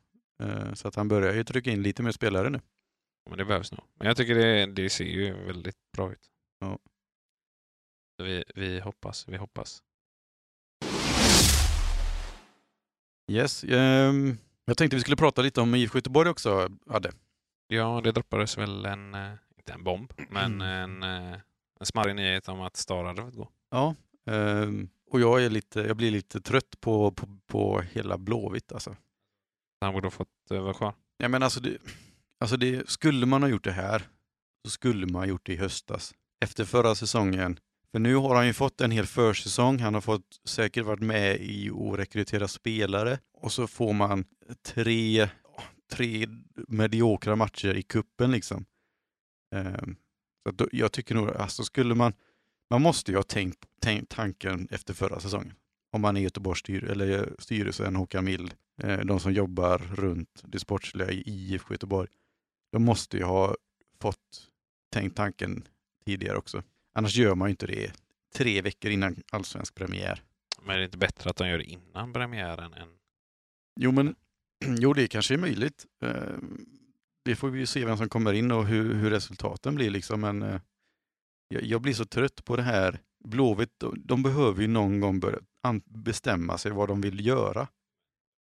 Speaker 1: Eh, Så att han börjar ju trycka in lite mer spelare nu.
Speaker 2: Men det behövs nog. Men jag tycker det, det ser ju väldigt bra ut.
Speaker 1: Ja.
Speaker 2: Så vi, vi hoppas, vi hoppas.
Speaker 1: Yes, ehm, jag tänkte vi skulle prata lite om IFK Göteborg också, Adde.
Speaker 2: Ja, det droppades väl en, eh, inte en bomb, men
Speaker 1: Mm.
Speaker 2: en, eh, en smarrig nyhet om att Star hade fått gå.
Speaker 1: Ja, ehm, och jag, är lite, jag blir lite trött på, på, på hela Blåvitt alltså.
Speaker 2: Han borde ha fått eh, vara kvar.
Speaker 1: Ja, men alltså, det, alltså det, skulle man ha gjort det här så skulle man ha gjort det i höstas. Efter förra säsongen. För nu har han ju fått en hel försäsong. Han har fått säkert varit med i att rekrytera spelare och så får man tre, tre mediokra matcher i kuppen liksom. Ehm, så att då, jag tycker nog, alltså skulle man, man måste ju ha tänkt, tänkt tanken efter förra säsongen. Om man är Göteborgs styr, eller styrelsen, Håkan Mild, eh, de som jobbar runt det sportsliga i IFK Göteborg, de måste ju ha fått tänkt tanken tidigare också. Annars gör man ju inte det tre veckor innan allsvensk premiär.
Speaker 2: Men är det inte bättre att de gör det innan premiären än...
Speaker 1: Jo, men jo, det kanske är möjligt. Eh, Det får vi ju se vem som kommer in och hur, hur resultaten blir. Liksom. Men eh, jag, jag blir så trött på det här. Blåvitt, de, de behöver ju någon gång börja an- bestämma sig vad de vill göra.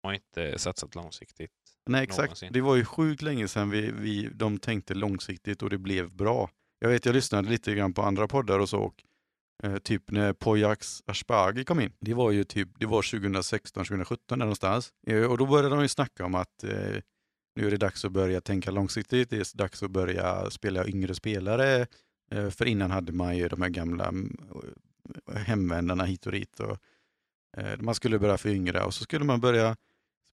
Speaker 2: De har inte satsat långsiktigt.
Speaker 1: Nej, exakt.
Speaker 2: Någonsin.
Speaker 1: Det var ju sjukt länge sedan vi, vi, de tänkte långsiktigt och det blev bra. Jag vet, jag lyssnade lite grann på andra poddar och så. Och, eh, typ när Pojax Asbaghi kom in. Det var ju typ, det var 2016, 2017 där någonstans. Eh, och då började de ju snacka om att eh, nu är det dags att börja tänka långsiktigt. Det är dags att börja spela yngre spelare. Eh, för innan hade man ju de här gamla mm, hemvändarna hit och dit. Och, eh, man skulle börja föryngra och så skulle man börja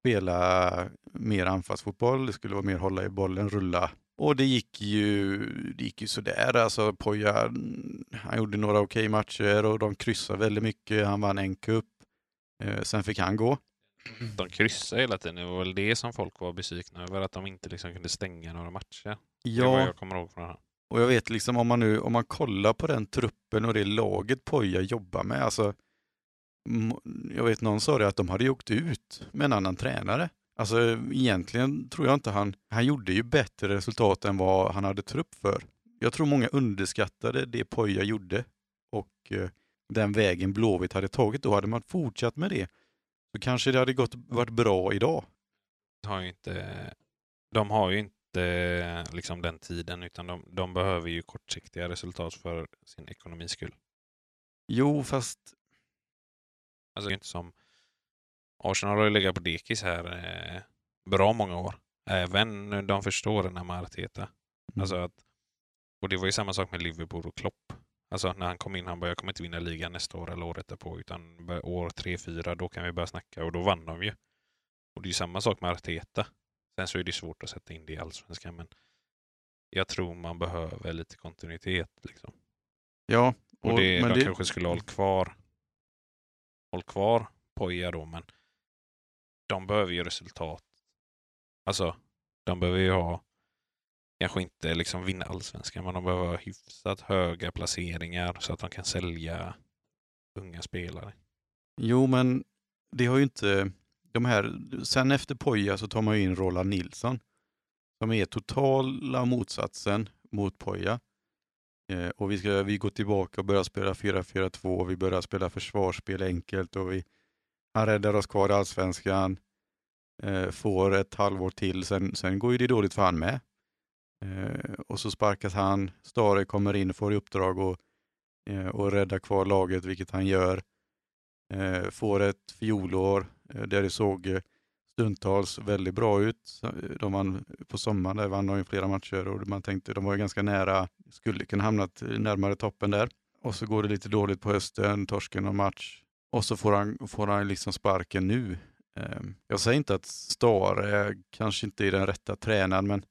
Speaker 1: spela mer anfallsfotboll. Det skulle vara mer hålla i bollen, rulla Och det gick ju, det gick ju sådär. Alltså Poja, mm, han gjorde några okej matcher och de kryssade väldigt mycket. Han vann en cup. Eh, sen fick han gå. Mm.
Speaker 2: De kryssade hela tiden. Det var väl det som folk var besvikna över, att de inte liksom kunde stänga några matcher. Det var vad jag kommer ihåg från honom.
Speaker 1: Och jag vet liksom om man nu, om man kollar på den truppen och det laget Poja jobbar med, alltså m- jag vet någon sa det att de hade ju åkt ut med en annan tränare. Alltså egentligen tror jag inte han, han gjorde ju bättre resultat än vad han hade trupp för. Jag tror många underskattade det Poja gjorde och eh, den vägen Blåvitt hade tagit då. Hade man fortsatt med det så kanske det hade gått, varit bra idag.
Speaker 2: har ju inte, de har ju inte eh, liksom den tiden utan de, de behöver ju kortsiktiga resultat för sin ekonomis skull.
Speaker 1: Jo, fast
Speaker 2: Alltså det är inte som Arsenal har ju legat på dekis här eh, bra många år. Även de första åren med Arteta. Alltså att, och det var ju samma sak med Liverpool och Klopp. Alltså när han kom in, han bara jag kommer inte vinna ligan nästa år eller året därpå utan bör- år tre fyra då kan vi börja snacka och då vann de ju. Och det är ju samma sak med Arteta. Sen så är det svårt att sätta in det i allsvenskan men jag tror man behöver lite kontinuitet liksom.
Speaker 1: ja.
Speaker 2: Och
Speaker 1: och-
Speaker 2: det,
Speaker 1: men
Speaker 2: de
Speaker 1: det-
Speaker 2: kanske skulle ha hållit kvar, hållit kvar Poja då, men de behöver ju resultat. Alltså, de behöver ju ha, kanske inte liksom vinna allsvenskan, men de behöver ha hyfsat höga placeringar så att de kan sälja unga spelare.
Speaker 1: Jo, men det har ju inte... De här, sen efter Poja så tar man ju in Roland Nilsson som är totala motsatsen mot Poja. Eh, och vi, ska, vi går tillbaka och börjar spela 4-4-2, vi börjar spela försvarsspel enkelt och vi, han räddar oss kvar i allsvenskan, eh, får ett halvår till, sen, sen går ju det dåligt för han med. Eh, och så sparkas han, Stare kommer in och får i uppdrag och, eh, och rädda kvar laget, vilket han gör eh, får ett fjolår eh, där det såg eh, stundtals väldigt bra ut. eh, De vann på sommaren, där vann de ju flera matcher och man tänkte de var ju ganska nära, skulle kunna hamnat närmare toppen där. Och så går det lite dåligt på hösten, torsken och match. Och så får han, får han liksom sparken nu. Eh, Jag säger inte att Stare kanske inte är den rätta tränaren, men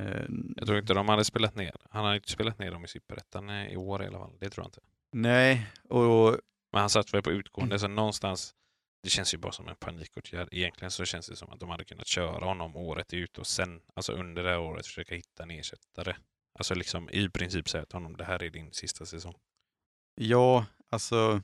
Speaker 1: eh,
Speaker 2: Jag tror inte de hade spelat ner, han hade inte spelat ner dem i superettan eh, i år i alla fall, det tror jag inte.
Speaker 1: nej, och
Speaker 2: Men han satt väl på
Speaker 1: Mm.
Speaker 2: utgående, så någonstans, det känns ju bara som en panikåtgärd. Egentligen så känns det som att de hade kunnat köra honom året ut och sen, alltså under det här året, försöka hitta en ersättare. Alltså liksom i princip säga till honom, det här är din sista säsong.
Speaker 1: ja, alltså,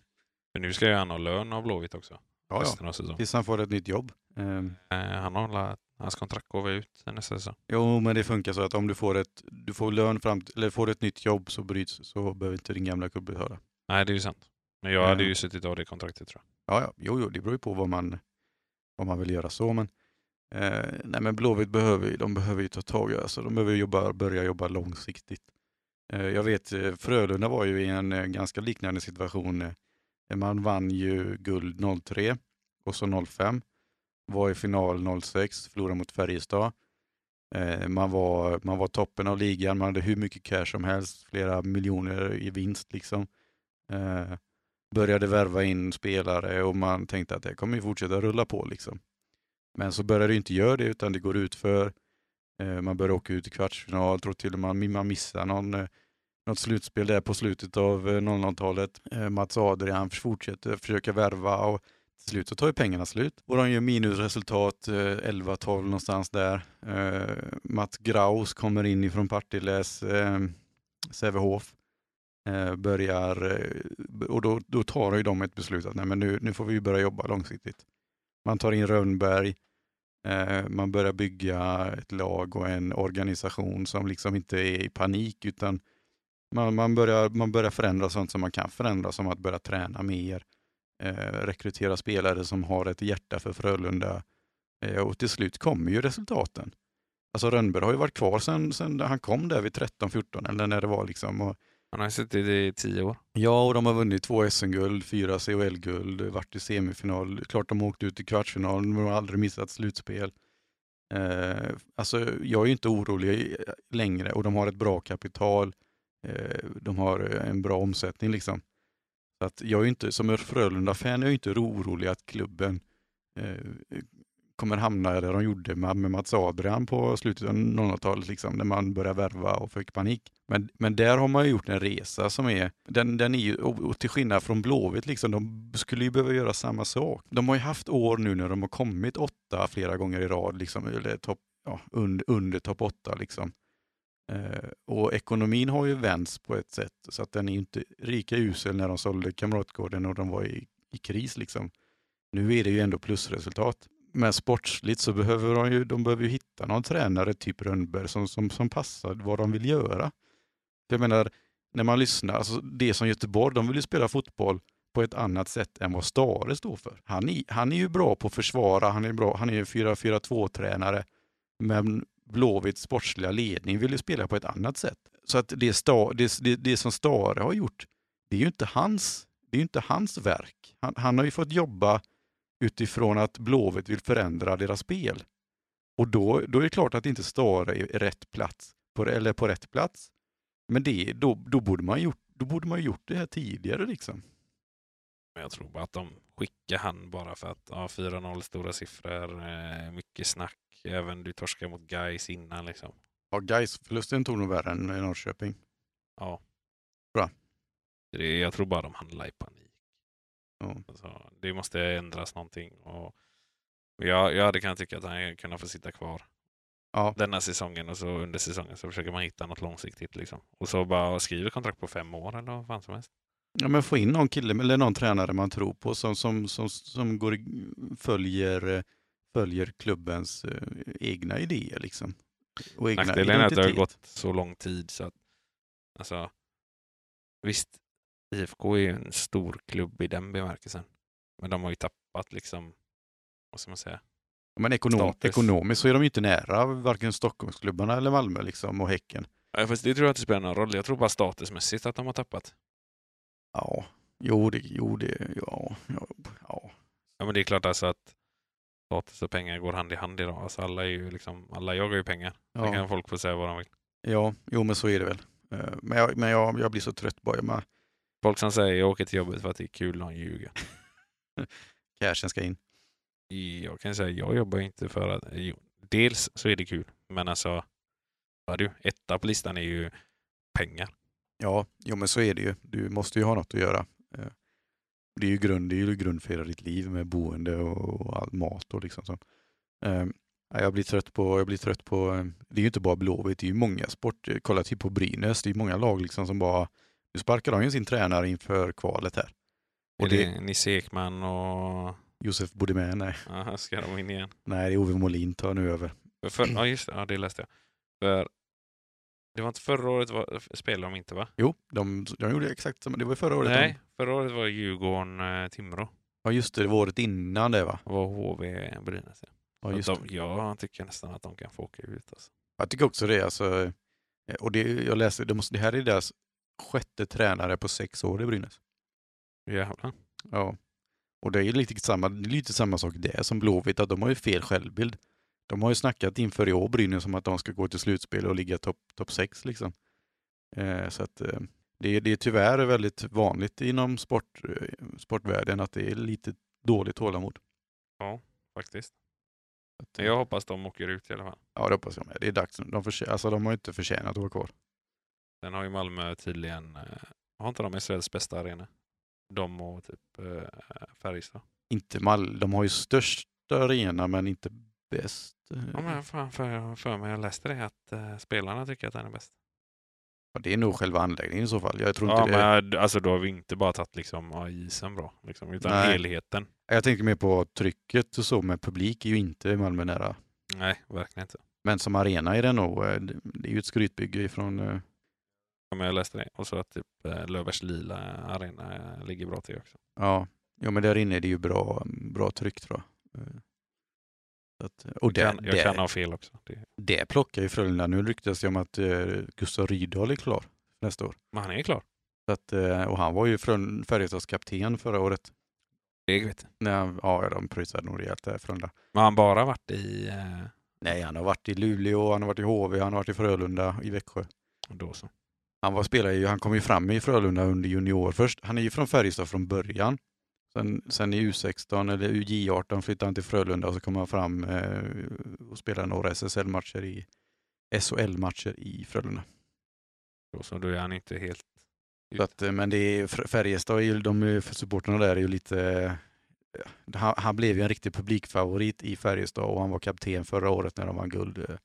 Speaker 2: För nu ska ju han ha lön av Blåvitt också,
Speaker 1: ja, ja,
Speaker 2: resten av säsongen.
Speaker 1: tills han får ett nytt jobb. Eh,
Speaker 2: Eh, han har, la- hans kontrakt går väl ut nästa säsong.
Speaker 1: Jo, men det funkar så att om du får ett, du får lön fram, till- eller får du ett nytt jobb så bryts, så behöver inte din gamla gubbe höra.
Speaker 2: Nej, det är ju sant. Men jag
Speaker 1: Ja.
Speaker 2: hade ju suttit av det kontraktet tror jag.
Speaker 1: Ja, ja, jo, jo, det beror ju på vad man, vad man vill göra så, men eh, nej, men Blåvitt behöver ju, de behöver ju ta tag i, alltså de behöver ju jobba, börja jobba långsiktigt. Eh, jag vet, eh, Frölunda var ju i en eh, ganska liknande situation. Eh, man vann ju guld 03 och så 05, var i final 06, förlorade mot Färjestad. Eh, Man var, man var toppen av ligan, man hade hur mycket cash som helst, flera miljoner i vinst liksom. Eh, började värva in spelare och man tänkte att det kommer ju fortsätta rulla på liksom. Men så började det inte göra det utan det går ut för eh, man börjar åka ut i kvartsfinal, tror till och med man missar någon, eh, något slutspel där på slutet av eh, 00-talet. Eh, Mats Adrian fortsätter försöka värva och till slut så tar ju pengarna slut. Och de gör minusresultat eh, 11-12 någonstans där. Eh, Mats Graus kommer in ifrån Partilles eh, Sävehof. Eh, börjar, eh, och då, då tar ju de ett beslut att nej, men nu, nu får vi ju börja jobba långsiktigt. Man tar in Rönnberg, eh, man börjar bygga ett lag och en organisation som liksom inte är i panik utan man, man, börjar, man börjar förändra sånt som man kan förändra, som att börja träna mer, eh, rekrytera spelare som har ett hjärta för Frölunda eh, och till slut kommer ju resultaten. Alltså Rönnberg har ju varit kvar sedan sen han kom där vid 13-14 eller när det var liksom. Och,
Speaker 2: Han har ju suttit i tio år.
Speaker 1: Ja, och de har vunnit två SM-guld, fyra CHL-guld, varit i semifinal. Klart de åkte ut i kvartsfinal, men de har aldrig missat slutspel. Eh, alltså, jag är ju inte orolig eh, längre och de har ett bra kapital. Eh, de har en bra omsättning liksom. Så att jag är ju inte, som Frölunda-fan, jag är ju inte orolig att klubben eh, kommer hamna där de gjorde med, med Mats Adrian på slutet av 00-talet, liksom, när man började värva och fick panik. Men, men där har man ju gjort en resa som är, den, den är ju, och och till skillnad från Blåvitt, liksom, de skulle ju behöva göra samma sak. De har ju haft år nu när de har kommit åtta flera gånger i rad, liksom, eller topp, ja, under, under topp åtta. Liksom. Eh, och ekonomin har ju vänts på ett sätt, så att den är ju inte rika usel när de sålde Kamratgården och de var i, i kris. Liksom. Nu är det ju ändå plusresultat. Men sportsligt så behöver de ju, de behöver ju hitta någon tränare, typ Rönnberg, som, som, som passar vad de vill göra. Jag menar, när man lyssnar, alltså det som Göteborg, de vill ju spela fotboll på ett annat sätt än vad Stare står för. Han är, han är ju bra på att försvara, han är, bra, han är ju 4-4-2-tränare, men Blåvitts sportsliga ledning vill ju spela på ett annat sätt. Så att det, sta, det, det, det som Stare har gjort, det är ju inte hans, det är ju inte hans verk. Han, han har ju fått jobba utifrån att Blåvitt vill förändra deras spel. Och då, då är det klart att inte Stare är rätt plats, på, eller på rätt plats. Men det, då, då, borde man gjort, då borde man gjort det här tidigare liksom.
Speaker 2: Men jag tror bara att de skickar han bara för att ja, 4-0 stora siffror, eh, mycket snack. Även du torskar mot guys innan liksom.
Speaker 1: Ja, guys förlusten tog nog värre än i Norrköping.
Speaker 2: Ja.
Speaker 1: Bra.
Speaker 2: Det, jag tror bara de handlar i panik.
Speaker 1: Ja.
Speaker 2: Alltså, det måste ändras någonting. Och och jag, jag hade kunnat tycka att han kunde få sitta kvar
Speaker 1: Ja.
Speaker 2: denna säsongen och så under säsongen så försöker man hitta något långsiktigt liksom. Och så bara skriver kontrakt på fem år eller vad fan som helst.
Speaker 1: Ja, men få in någon kille eller någon tränare man tror på som, som, som, som går, i- följer, eh, följer klubbens eh, egna idéer. Liksom. Och egna
Speaker 2: Nackdelen är att det har
Speaker 1: identitet.
Speaker 2: gått så lång tid så att alltså visst, IFK är ju en stor klubb i den bemärkelsen. Men de har ju tappat liksom, vad ska man säga?
Speaker 1: Men ekonom,
Speaker 2: status.
Speaker 1: ekonomiskt så är de ju inte nära varken Stockholmsklubbarna eller Malmö liksom, och Häcken.
Speaker 2: Ja, fast det tror jag inte spelar någon roll. Jag tror bara statusmässigt att de har tappat.
Speaker 1: Ja, jo, det, jo, det, ja, ja, ja.
Speaker 2: Ja, men det är klart alltså att status och pengar går hand i hand idag. Alltså alla är ju liksom, alla jagar ju pengar. Ja.
Speaker 1: ja.
Speaker 2: kan folk få säga vad de vill.
Speaker 1: Ja, jo men så är det väl. Eh, Men jag, men jag, jag blir så trött bara. Man,
Speaker 2: Folk som säger jag åker till jobbet för att det är kul, de ljuger.
Speaker 1: cashen ska in.
Speaker 2: Jag kan säga jag jobbar ju inte för att... Jo, dels så är det kul, men alltså... Vad du, etta på listan är ju pengar.
Speaker 1: Ja, jo men så är det ju. Du måste ju ha något att göra. Eh, Det är ju grund, det är ju grund för hela ditt liv med boende och och all mat och liksom så. Eh, ja, Jag blir trött på, jag blir trött på, eh, det är ju inte bara Blåvitt, det är ju många sport. eh, Kolla typ på Brynäs, det är ju många lag liksom som bara, nu sparkar de ju sin tränare inför kvalet här.
Speaker 2: Och
Speaker 1: Och
Speaker 2: det...
Speaker 1: det,
Speaker 2: är Nisse Ekman och...
Speaker 1: Josef Bodimé, nej,
Speaker 2: Aha, ska de in igen?
Speaker 1: nej det är Ove Molin tar nu över.
Speaker 2: För- För... Ja, just det. Ja, det läste jag. För... Det var inte förra året var... spelade de inte, va?
Speaker 1: Jo, de, de gjorde exakt samma, det var ju förra året.
Speaker 2: Nej, förra året var Djurgården-Timrå.
Speaker 1: Ja just det, det var året innan det va?
Speaker 2: Det var HV-Brynäs.
Speaker 1: Ja, just det.
Speaker 2: de... Jag tycker nästan att de kan få åka ut. Alltså.
Speaker 1: Jag tycker också det. Alltså, eh, och det jag läste, det, måste, det här är deras sjätte tränare på sex år i Brynäs.
Speaker 2: Jävlar.
Speaker 1: Ja. Och det är ju lite samma, det är lite samma sak där som Blåvitt, att de har ju fel självbild. De har ju snackat inför i år, Brynäs, om att de ska gå till slutspel och ligga topp top sex. Liksom. Eh, så att, eh, det, är- det är tyvärr väldigt vanligt inom sport, eh, sportvärlden att det är lite dåligt tålamod.
Speaker 2: Ja, faktiskt.
Speaker 1: Att, eh,
Speaker 2: Jag hoppas de åker ut i alla fall.
Speaker 1: ja, det hoppas jag med. Det är dags nu. De, förtjä- alltså, de har ju inte förtjänat att vara kvar.
Speaker 2: Sen har ju Malmö tydligen, eh, har inte de Israels bästa arena? De och typ eh, Färjestad.
Speaker 1: inte Mal de har ju störst arena men inte bäst.
Speaker 2: Ja men fan, för, jag har för mig, jag läste det att eh, spelarna tycker att den är bäst.
Speaker 1: Ja, det är nog själva anläggningen i så fall. Jag tror
Speaker 2: Ja
Speaker 1: inte det.
Speaker 2: men eh, alltså då har vi inte bara tagit liksom ja, isen bra, liksom, utan
Speaker 1: Nej.
Speaker 2: helheten.
Speaker 1: Jag tänker mer på trycket och så, men publik är ju inte Malmö nära.
Speaker 2: Nej, verkligen inte.
Speaker 1: Men som arena är det nog, eh, det- det är ju ett skrytbygge ifrån, eh,
Speaker 2: Ja, men jag läste det. Och så att typ eh, Löfbergs lila arena eh, ligger bra till också.
Speaker 1: ja, jo men där inne är det ju bra, bra tryck tror jag. Eh, Så att, eh, och där,
Speaker 2: jag kan, jag
Speaker 1: där,
Speaker 2: kan ha fel också. Det,
Speaker 1: där plockar ju Frölunda. Nu ryktas det om att eh, Gustav Rydahl är klar nästa år.
Speaker 2: men han är klar.
Speaker 1: Så att, eh, och han var ju Frölun- Färjestads kapten förra året.
Speaker 2: Det vet
Speaker 1: När, han- ja, de prysade nog rejält där Frölunda.
Speaker 2: Men han bara varit i... Eh,
Speaker 1: Nej, han har varit i Luleå, han har varit i HV, han har varit i Frölunda, i Växjö.
Speaker 2: då så.
Speaker 1: Han var spelare, ju- han kom ju fram i Frölunda under junior först. Han är ju från Färjestad från början. Sen, sen i U16 eller U18 flyttade han till Frölunda och så kom han fram eh, och spelade några SSL-matcher i SHL-matcher i Frölunda.
Speaker 2: Då, så då är han inte helt...
Speaker 1: Så att, eh, men det är, Fr- Färjestad, är ju- de är- supportrarna där är ju lite... eh, Han, han blev ju en riktig publikfavorit i Färjestad och han var kapten förra året när de vann guld. eh.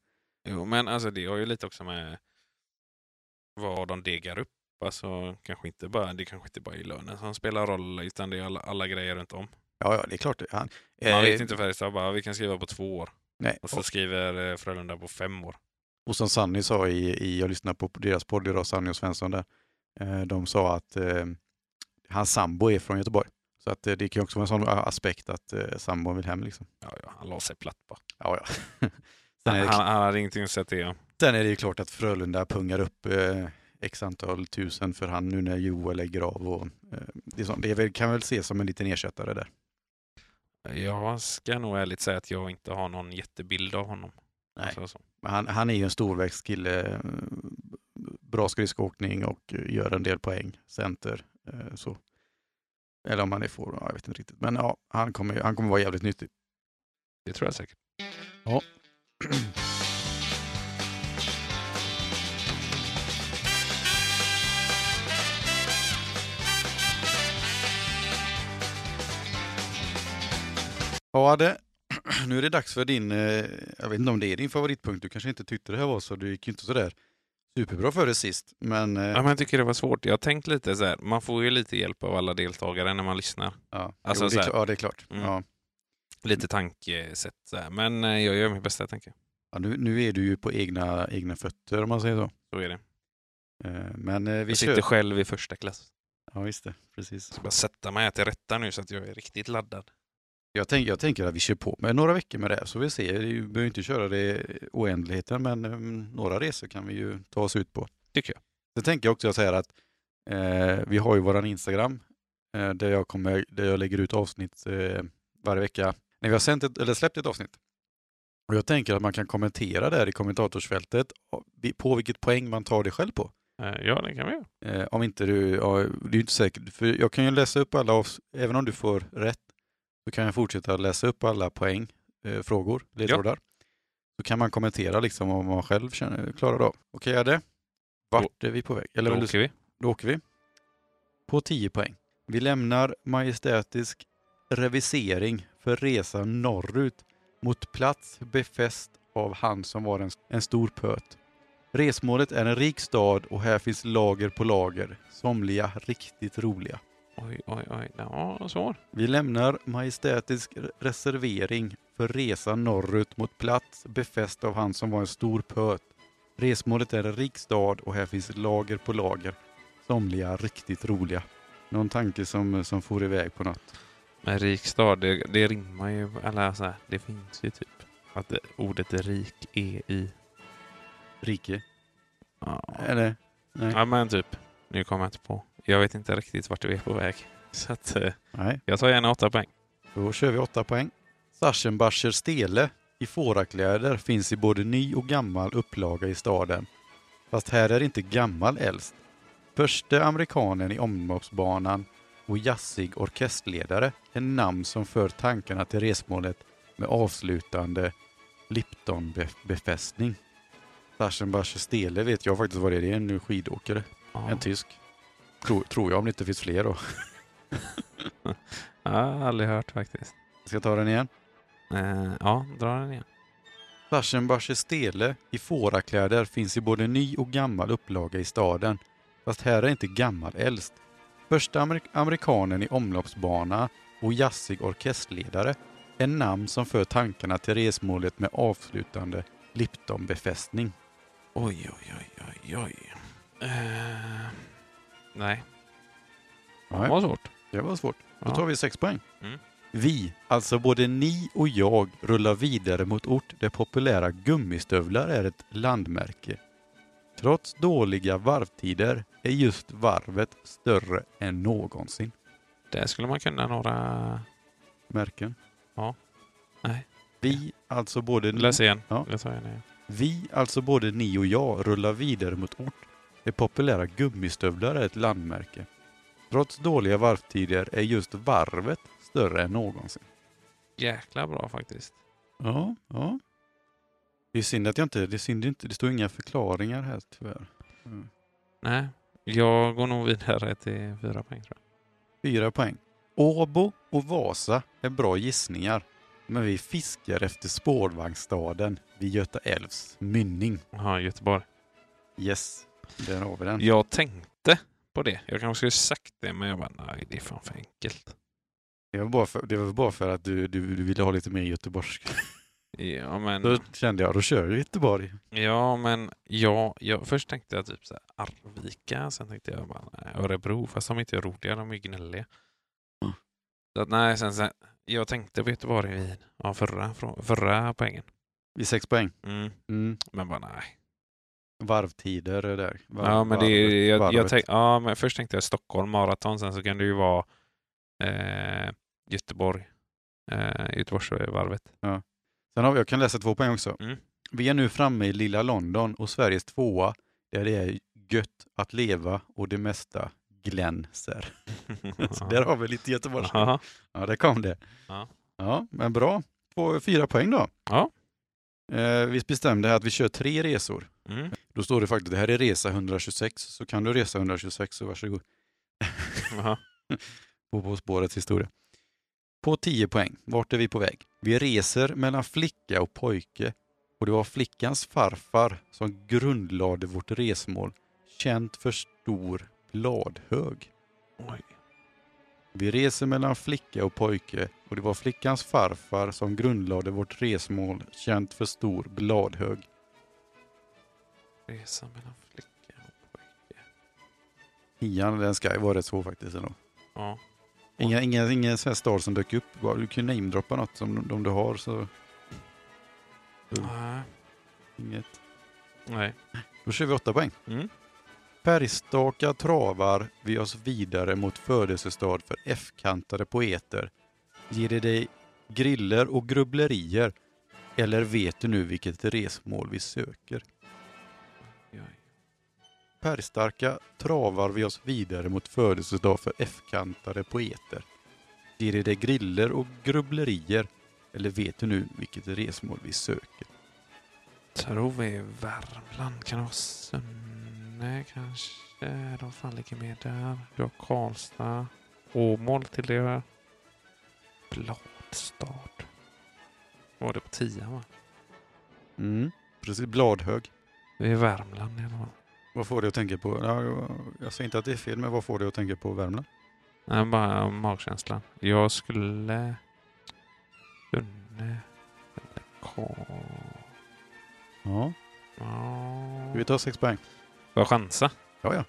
Speaker 2: Jo, men alltså det har ju lite också med vad de degar upp. Alltså, kanske inte bara, det kanske inte bara är lönen som spelar roll, utan det är alla, alla grejer runt om.
Speaker 1: Ja, ja, det är klart. Han,
Speaker 2: Man
Speaker 1: eh,
Speaker 2: vet inte Färjestad bara, "Ah, vi kan skriva på två år.
Speaker 1: Nej,
Speaker 2: Och så skriver eh, Frölunda på fem år.
Speaker 1: Och som Sanny sa i, i jag lyssnade på deras podd idag, Sanny och Svensson där, eh, de sa att eh, hans sambo är från Göteborg. Så att eh, det kan ju också vara en sån a- aspekt att eh, sambon vill hem liksom.
Speaker 2: Ja, ja, han la sig platt bara.
Speaker 1: Ja, ja. sen, är
Speaker 2: Han,
Speaker 1: det,
Speaker 2: han hade ingenting att säga till om.
Speaker 1: sen är det ju klart att Frölunda pungar upp eh, x antal tusen för han nu när Joel lägger av. Och, eh, det är sånt. det är väl, kan väl ses som en liten ersättare där.
Speaker 2: Jag ska nog ärligt säga att jag inte har någon jättebild av honom.
Speaker 1: Nej.
Speaker 2: Alltså, så.
Speaker 1: Men Han, han är ju en storväxt kille, eh, bra skridskoåkning och eh, gör en del poäng, center. eh, Så. Eller om han är forward, ja, jag vet inte riktigt. Men ja, han kommer, han kommer vara jävligt nyttig.
Speaker 2: Det tror jag säkert.
Speaker 1: Ja. Ja, det. Nu är det dags för din, eh, jag vet inte om det är din favoritpunkt, du kanske inte tyckte det här var så, det gick ju inte sådär superbra för dig sist. Men eh,
Speaker 2: Ja, men jag tycker det var svårt. Jag har tänkt lite så här, man får ju lite hjälp av alla deltagare när man lyssnar.
Speaker 1: ja,
Speaker 2: Alltså
Speaker 1: jo, det, är
Speaker 2: såhär.
Speaker 1: kla- ja, det är klart.
Speaker 2: Mm.
Speaker 1: Ja.
Speaker 2: Lite tankesätt så här. Men eh, jag gör mitt bästa tänker jag.
Speaker 1: Ja, nu, nu är du ju på egna, egna fötter om man säger så.
Speaker 2: Så är det.
Speaker 1: Eh, Men eh, vi
Speaker 2: Jag
Speaker 1: kör.
Speaker 2: sitter själv i första klass.
Speaker 1: Ja, visst det.
Speaker 2: Jag
Speaker 1: Precis.
Speaker 2: ska bara sätta mig här till rätta nu så att jag är riktigt laddad.
Speaker 1: Jag, tänk, jag tänker att vi kör på med några veckor med det här, så vi ser. Vi behöver inte köra det i oändligheten men eh, några resor kan vi ju ta oss ut på.
Speaker 2: Tycker jag.
Speaker 1: Sen tänker jag också så här att eh, vi har ju våran Instagram eh, där, jag kommer, där jag lägger ut avsnitt eh, varje vecka när vi har sänt ett, eller släppt ett avsnitt. Och jag tänker att man kan kommentera där i kommentatorsfältet på vilket poäng man tar det själv på.
Speaker 2: Eh, Ja, det kan vi göra.
Speaker 1: Eh, om inte du, ja, det är ju inte säkert, för jag kan ju läsa upp alla, avs- även om du får rätt, så kan jag fortsätta läsa upp alla poäng, eh, frågor, ledtrådar. Så kan man kommentera liksom om man själv känner, klarar av. Okej, är det? Vart är vi på väg? Eller
Speaker 2: Då
Speaker 1: vill du
Speaker 2: åker vi.
Speaker 1: då åker vi. På 10 poäng. Vi lämnar majestätisk revisering för resan norrut mot plats befäst av han som var en, en stor pöt. Resmålet är en rik stad och här finns lager på lager, somliga riktigt roliga.
Speaker 2: Oj, oj, oj. Ja, svår.
Speaker 1: Vi lämnar majestätisk re- reservering för resa norrut mot plats befäst av han som var en stor pöt. Resmålet är en rik stad och här finns lager på lager. Somliga riktigt roliga. Någon tanke som, som for iväg på något?
Speaker 2: Men rik stad, det, det rimmar ju. Eller så här, det finns ju typ att det, ordet rik är i.
Speaker 1: Rike?
Speaker 2: Ja.
Speaker 1: Eller? Nej.
Speaker 2: ja, men typ. Nu kommer jag inte på. Jag vet inte riktigt vart vi är på väg. Så att, eh,
Speaker 1: Nej.
Speaker 2: jag tar gärna åtta poäng.
Speaker 1: Då kör vi åtta poäng. Sachsenbacher stele i fårakläder finns i både ny och gammal upplaga i staden. Fast här är inte gammal äldst. Förste amerikanen i omloppsbanan och jazzig orkesterledare är namn som för tankarna till resmålet med avslutande Lipton-befästning. Sachsenbacher stele vet jag faktiskt vad det är. Det är en skidåkare.
Speaker 2: Ja.
Speaker 1: En tysk. Tror, tror jag om det inte finns fler då.
Speaker 2: Ja, aldrig hört faktiskt.
Speaker 1: Ska jag ta den igen?
Speaker 2: Eh, ja, dra den igen.
Speaker 1: Flaschenbacher stele i fårakläder finns i både ny och gammal upplaga i staden. Fast här är inte gammal äldst. Första amerik- amerikanen i omloppsbana och jazzig orkesterledare är namn som för tankarna till resmålet med avslutande Lipton-befästning.
Speaker 2: Oj, oj, oj, oj, oj. Eh, nej, det
Speaker 1: Nej,
Speaker 2: var svårt.
Speaker 1: det var svårt. Då
Speaker 2: Ja.
Speaker 1: tar vi sex poäng.
Speaker 2: Mm.
Speaker 1: Vi, alltså både ni och jag, rullar vidare mot ort där populära gummistövlar är ett landmärke. Trots dåliga varvtider är just varvet större än någonsin.
Speaker 2: Där skulle man kunna några...
Speaker 1: Märken.
Speaker 2: Ja. Nej.
Speaker 1: Vi, alltså både ni,
Speaker 2: Läs igen.
Speaker 1: Ja.
Speaker 2: Jag tar igen igen.
Speaker 1: vi, alltså både ni och jag, rullar vidare mot ort där populära gummistövlar är ett landmärke. Trots dåliga varvtider är just varvet större än någonsin.
Speaker 2: Jäkla bra faktiskt.
Speaker 1: Ja, ja. Det är synd att jag inte, det är synd inte, det står inga förklaringar här tyvärr.
Speaker 2: Nej, jag går nog vidare till fyra poäng tror jag.
Speaker 1: Fyra poäng. Åbo och Vasa är bra gissningar, men vi fiskar efter spårvagnsstaden vid Göta älvs mynning.
Speaker 2: Jaha, Göteborg.
Speaker 1: Yes, där har vi den.
Speaker 2: Jag tänkte på det. Jag kanske skulle sagt det, men jag bara nej, det är fan för enkelt.
Speaker 1: Det var bara för, det var bara för att du, du, du ville ha lite mer göteborgsk.
Speaker 2: Ja, men...
Speaker 1: Då kände jag, då kör vi Göteborg.
Speaker 2: Ja, men ja, jag, först tänkte jag typ så här Arvika, sen tänkte jag bara nej, Örebro, fast de är inte roliga, de är gnälliga.
Speaker 1: Mm.
Speaker 2: Så att, nej, sen, sen, jag tänkte på Göteborg i ja, förra, frå- förra poängen.
Speaker 1: I sex poäng.
Speaker 2: Mm,
Speaker 1: Mm.
Speaker 2: men bara nej.
Speaker 1: Varvtider är där. Varv,
Speaker 2: ja, men det, är- jag, jag
Speaker 1: varvet.
Speaker 2: tänk, ja, men först tänkte jag Stockholm maraton, sen så kan det ju vara eh, Göteborg, eh, Göteborgsvarvet.
Speaker 1: Sen har vi, jag kan läsa två poäng också.
Speaker 2: Mm.
Speaker 1: Vi är nu framme i lilla London och Sveriges tvåa där det är gött att leva och det mesta glänser. Så där har vi lite Göteborg.
Speaker 2: Aha.
Speaker 1: Ja, där kom det.
Speaker 2: Ja.
Speaker 1: Ja, men bra. Två, fyra poäng då.
Speaker 2: Ja.
Speaker 1: Eh, vi bestämde här att vi kör tre resor.
Speaker 2: Mm.
Speaker 1: Då står det faktiskt, det här är resa 126, så kan du resa 126 så varsågod.
Speaker 2: Aha.
Speaker 1: på På spårets historia. På 10 poäng, vart är vi på väg? Vi reser mellan flicka och pojke och det var flickans farfar som grundlade vårt resmål, känt för stor bladhög.
Speaker 2: Oj.
Speaker 1: Vi reser mellan flicka och pojke och det var flickans farfar som grundlade vårt resmål, känt för stor bladhög.
Speaker 2: Resa mellan flicka och pojke.
Speaker 1: Tian, den ska vara rätt svår faktiskt ändå.
Speaker 2: Ja.
Speaker 1: Inga, inga, inga sån här stad som dök upp. Bara Du kan ju namedroppa något som de, de du har så Mm.
Speaker 2: Nej.
Speaker 1: inget.
Speaker 2: Nej.
Speaker 1: Då kör vi åtta poäng.
Speaker 2: Mm.
Speaker 1: Färgstaka travar vi oss vidare mot födelsestad för F-kantade poeter. Ger det dig griller och grubblerier? Eller vet du nu vilket resmål vi söker?
Speaker 2: Oj.
Speaker 1: Färgstarka travar vi oss vidare mot födelsedag för F-kantade poeter. Ger det dig griller och grubblerier? Eller vet du nu vilket resmål vi söker?
Speaker 2: Tror vi är Värmland. Kan det vara Sunne kanske? De fan ligger med där. Du har Karlstad. Åmål till det. Bladstad. Var det på tian va?
Speaker 1: Mm. Precis, bladhög.
Speaker 2: Vi är Värmland i alla fall.
Speaker 1: Vad får du att tänka på? Ja, jag- jag säger inte att det är fel, men vad får du att tänka på Värmland?
Speaker 2: Nej, bara magkänslan. Jag skulle... Sunne. Eller Karl...
Speaker 1: Ja.
Speaker 2: Ja.
Speaker 1: Vi tar sex poäng.
Speaker 2: Får jag chansa?
Speaker 1: Ja, ja.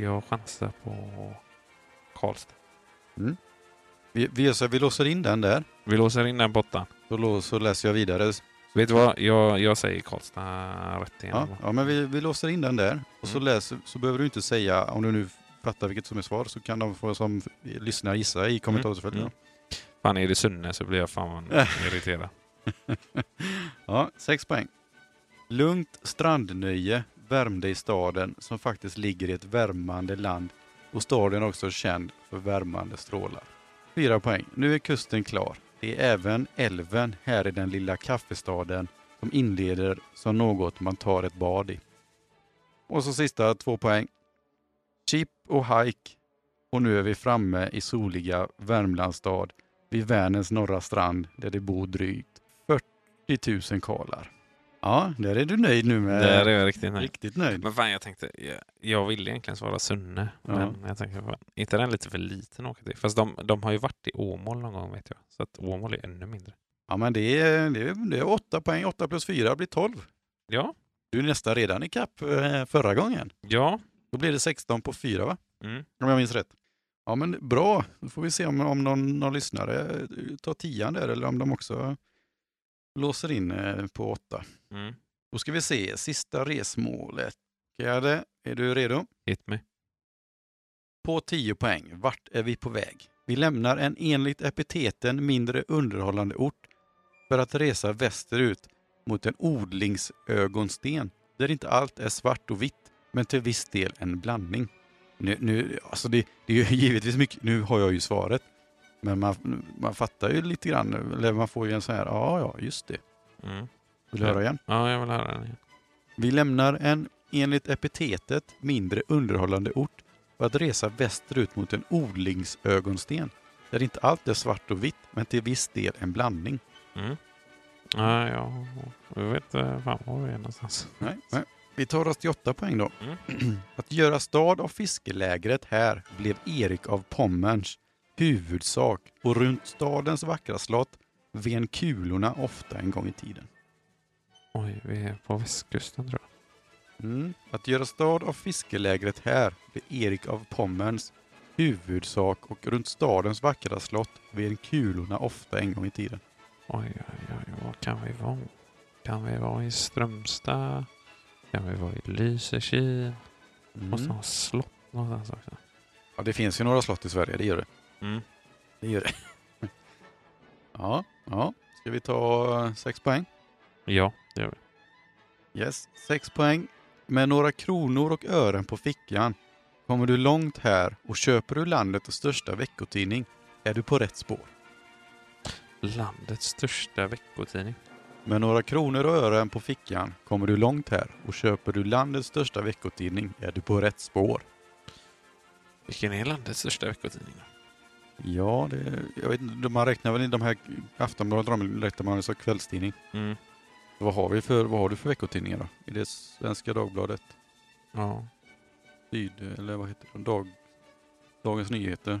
Speaker 2: Jag chansar på Karlstad.
Speaker 1: Vi, vi, gör så, här, vi låser in den där.
Speaker 2: Vi låser in den botten.
Speaker 1: Så, lå, så läser jag vidare.
Speaker 2: Vet du vad? Jag, jag säger Karlstad rätt
Speaker 1: Ja,
Speaker 2: igen.
Speaker 1: ja men vi, vi låser in den där. Och så,
Speaker 2: Mm.
Speaker 1: läser, så behöver du inte säga, om du nu fattar vilket som är svar, så kan de få som lyssnar gissa i kommentarsfältet.
Speaker 2: Mm. Fan, är det Sunne så blir jag fan irriterad.
Speaker 1: Ja, sex poäng. Lugnt strandnöje värmde i staden som faktiskt ligger i ett värmande land och staden är också känd för värmande strålar. Fyra poäng. Nu är kusten klar. Det är även älven här i den lilla kaffestaden som inleder som något man tar ett bad i. Och så sista två poäng. Chip och hike och nu är vi framme i soliga Värmlandsstad vid Vänerns norra strand där det bor drygt 40 40 000 karlar. Ja, där är du nöjd nu med.
Speaker 2: Där är jag riktigt nöjd.
Speaker 1: Riktigt nöjd.
Speaker 2: Men fan, jag tänkte... Jag, jag ville egentligen svara Sunne.
Speaker 1: Ja.
Speaker 2: Men jag tänkte, fan, är inte den lite för liten att åka till? Fast de, de har ju varit i Åmål någon gång vet jag. Så att Åmål är ännu mindre.
Speaker 1: Ja, men det är, det, är, det är 8 poäng. 8 plus 4 blir 12.
Speaker 2: Ja,
Speaker 1: Du är nästan redan i kapp eh, förra gången.
Speaker 2: ja.
Speaker 1: Då blir det 16 på 4 va?
Speaker 2: Mm.
Speaker 1: Om jag minns rätt. Ja men bra, då får vi se om, om någon, någon lyssnare eh, tar tian där eller om de också låser in eh, på 8.
Speaker 2: Mm.
Speaker 1: Då ska vi se, sista resmålet. Gerde, är du redo?
Speaker 2: Hit me.
Speaker 1: På 10 poäng, vart är vi på väg? Vi lämnar en enligt epiteten mindre underhållande ort för att resa västerut mot en odlingsögonsten där inte allt är svart och vitt, men till viss del en blandning. Nu, nu, alltså det, det är ju givetvis mycket, nu har jag ju svaret. Men man, man fattar ju lite grann, eller man får ju en sån här, ja ja, just det.
Speaker 2: Mm.
Speaker 1: Vill du höra igen?
Speaker 2: Ja, jag vill höra den. igen.
Speaker 1: Vi lämnar en, enligt epitetet, mindre underhållande ort för att resa västerut mot en odlingsögonsten där inte allt är svart och vitt, men till viss del en blandning.
Speaker 2: Mm. Ja, jag, jag vet eh, fan var vi är någonstans.
Speaker 1: Nej, nej. Vi tar oss till åtta poäng då.
Speaker 2: Mm.
Speaker 1: Att göra stad av fiskelägret här blev Erik av Pommerns huvudsak och runt stadens vackra slott ven kulorna ofta en gång i tiden.
Speaker 2: Oj, vi är på västkusten tror jag.
Speaker 1: Mm. Att göra stad av fiskelägret här blev Erik av Pommerns huvudsak och runt stadens vackra slott ven kulorna ofta en gång i tiden.
Speaker 2: Oj, oj, oj, var kan vi vara? Kan vi vara i Strömstad? Kan vi vara i Lysekil?
Speaker 1: Mm.
Speaker 2: Måste ha slott någonstans också.
Speaker 1: Ja, det finns ju några slott i Sverige, det gör det.
Speaker 2: Mm.
Speaker 1: det, gör det. ja, ja, ska vi ta eh, sex poäng?
Speaker 2: Ja, det gör vi.
Speaker 1: Yes, sex poäng. Med några kronor och ören på fickan kommer du långt här och köper du landets största veckotidning är du på rätt spår.
Speaker 2: Landets största veckotidning.
Speaker 1: Med några kronor och ören på fickan kommer du långt här och köper du landets största veckotidning är du på rätt spår.
Speaker 2: Vilken är landets största veckotidning? då?
Speaker 1: Ja, det, jag vet inte, man räknar väl i de här Aftonbladet de räknar man väl som kvällstidning.
Speaker 2: Mm.
Speaker 1: Vad har, vi för, vad har du för veckotidningar då? Är det Svenska Dagbladet?
Speaker 2: Ja.
Speaker 1: Syd, eller vad heter de? Dag, Dagens Nyheter?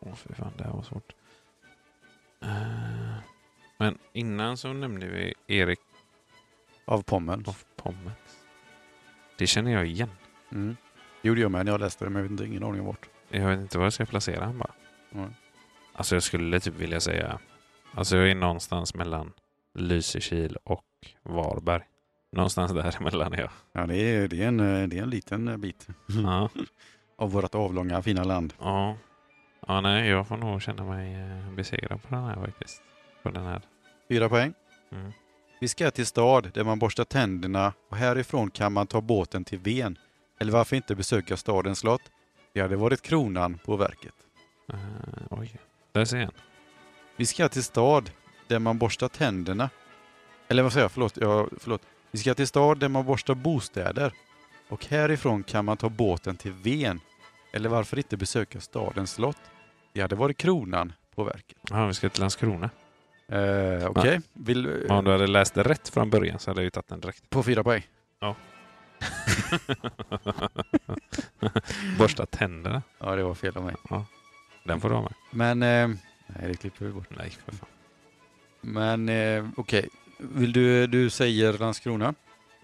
Speaker 2: Åh, fy fan, det här var svårt. Eh, Men innan så nämnde vi Erik
Speaker 1: Av Pommern.
Speaker 2: av Pommets. Det känner jag igen.
Speaker 1: Mm. Det gjorde jag med när jag läste det, men jag vet inte, ingen aning om vart.
Speaker 2: Jag vet inte var jag ska placera han bara.
Speaker 1: Mm.
Speaker 2: Alltså jag skulle typ vilja säga... Alltså jag är någonstans mellan Lysekil och Varberg. Någonstans däremellan är jag.
Speaker 1: Ja, det är, det, är en, eh, det är en liten eh, bit
Speaker 2: Ja.
Speaker 1: av vårt avlånga fina land.
Speaker 2: ja. Ja, nej, jag får nog känna mig eh, besegrad på den här faktiskt. På den här.
Speaker 1: Fyra poäng.
Speaker 2: Mm.
Speaker 1: Vi ska till stad där man borstar tänderna och härifrån kan man ta båten till Ven. Eller varför inte besöka stadens slott? Det hade varit kronan på verket.
Speaker 2: Eh, oj. Där ser jag en.
Speaker 1: Vi ska till stad där man borstar tänderna. Eller vad säger jag? Förlåt, jag, förlåt. Vi ska till stad där man borstar bostäder. Och härifrån kan man ta båten till Ven. Eller varför inte besöka stadens slott? Det hade varit kronan på verket.
Speaker 2: Ja, vi ska till Landskrona.
Speaker 1: Eh, Okej, vill...
Speaker 2: Om du hade läst det rätt från början så hade jag ju tagit den direkt.
Speaker 1: På fyra poäng.
Speaker 2: Borsta tänderna.
Speaker 1: Ja, det var fel av mig.
Speaker 2: Den får du ha med.
Speaker 1: Men... Eh, nej, det klipper vi bort.
Speaker 2: Nej, för fan.
Speaker 1: Men eh, okej, vill du, du säger Landskrona?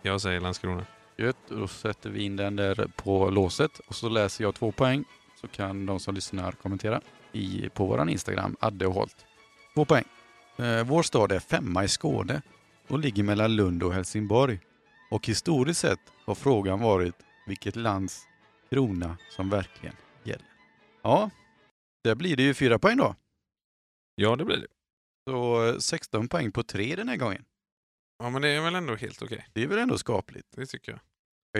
Speaker 2: Jag säger Landskrona.
Speaker 1: Gött, då sätter vi in den där på låset och så läser jag två poäng så kan de som lyssnar kommentera i, på våran Instagram, Adde och Holt. Två poäng. Eh, vår stad är femma i Skåne och ligger mellan Lund och Helsingborg. Och historiskt sett har frågan varit vilket lands krona som verkligen gäller. Ja, där blir det ju fyra poäng då.
Speaker 2: Ja, det blir det.
Speaker 1: Så eh, 16 poäng på tre den här gången.
Speaker 2: Ja, men det är väl ändå helt okej.
Speaker 1: Det är väl ändå skapligt.
Speaker 2: Det tycker jag.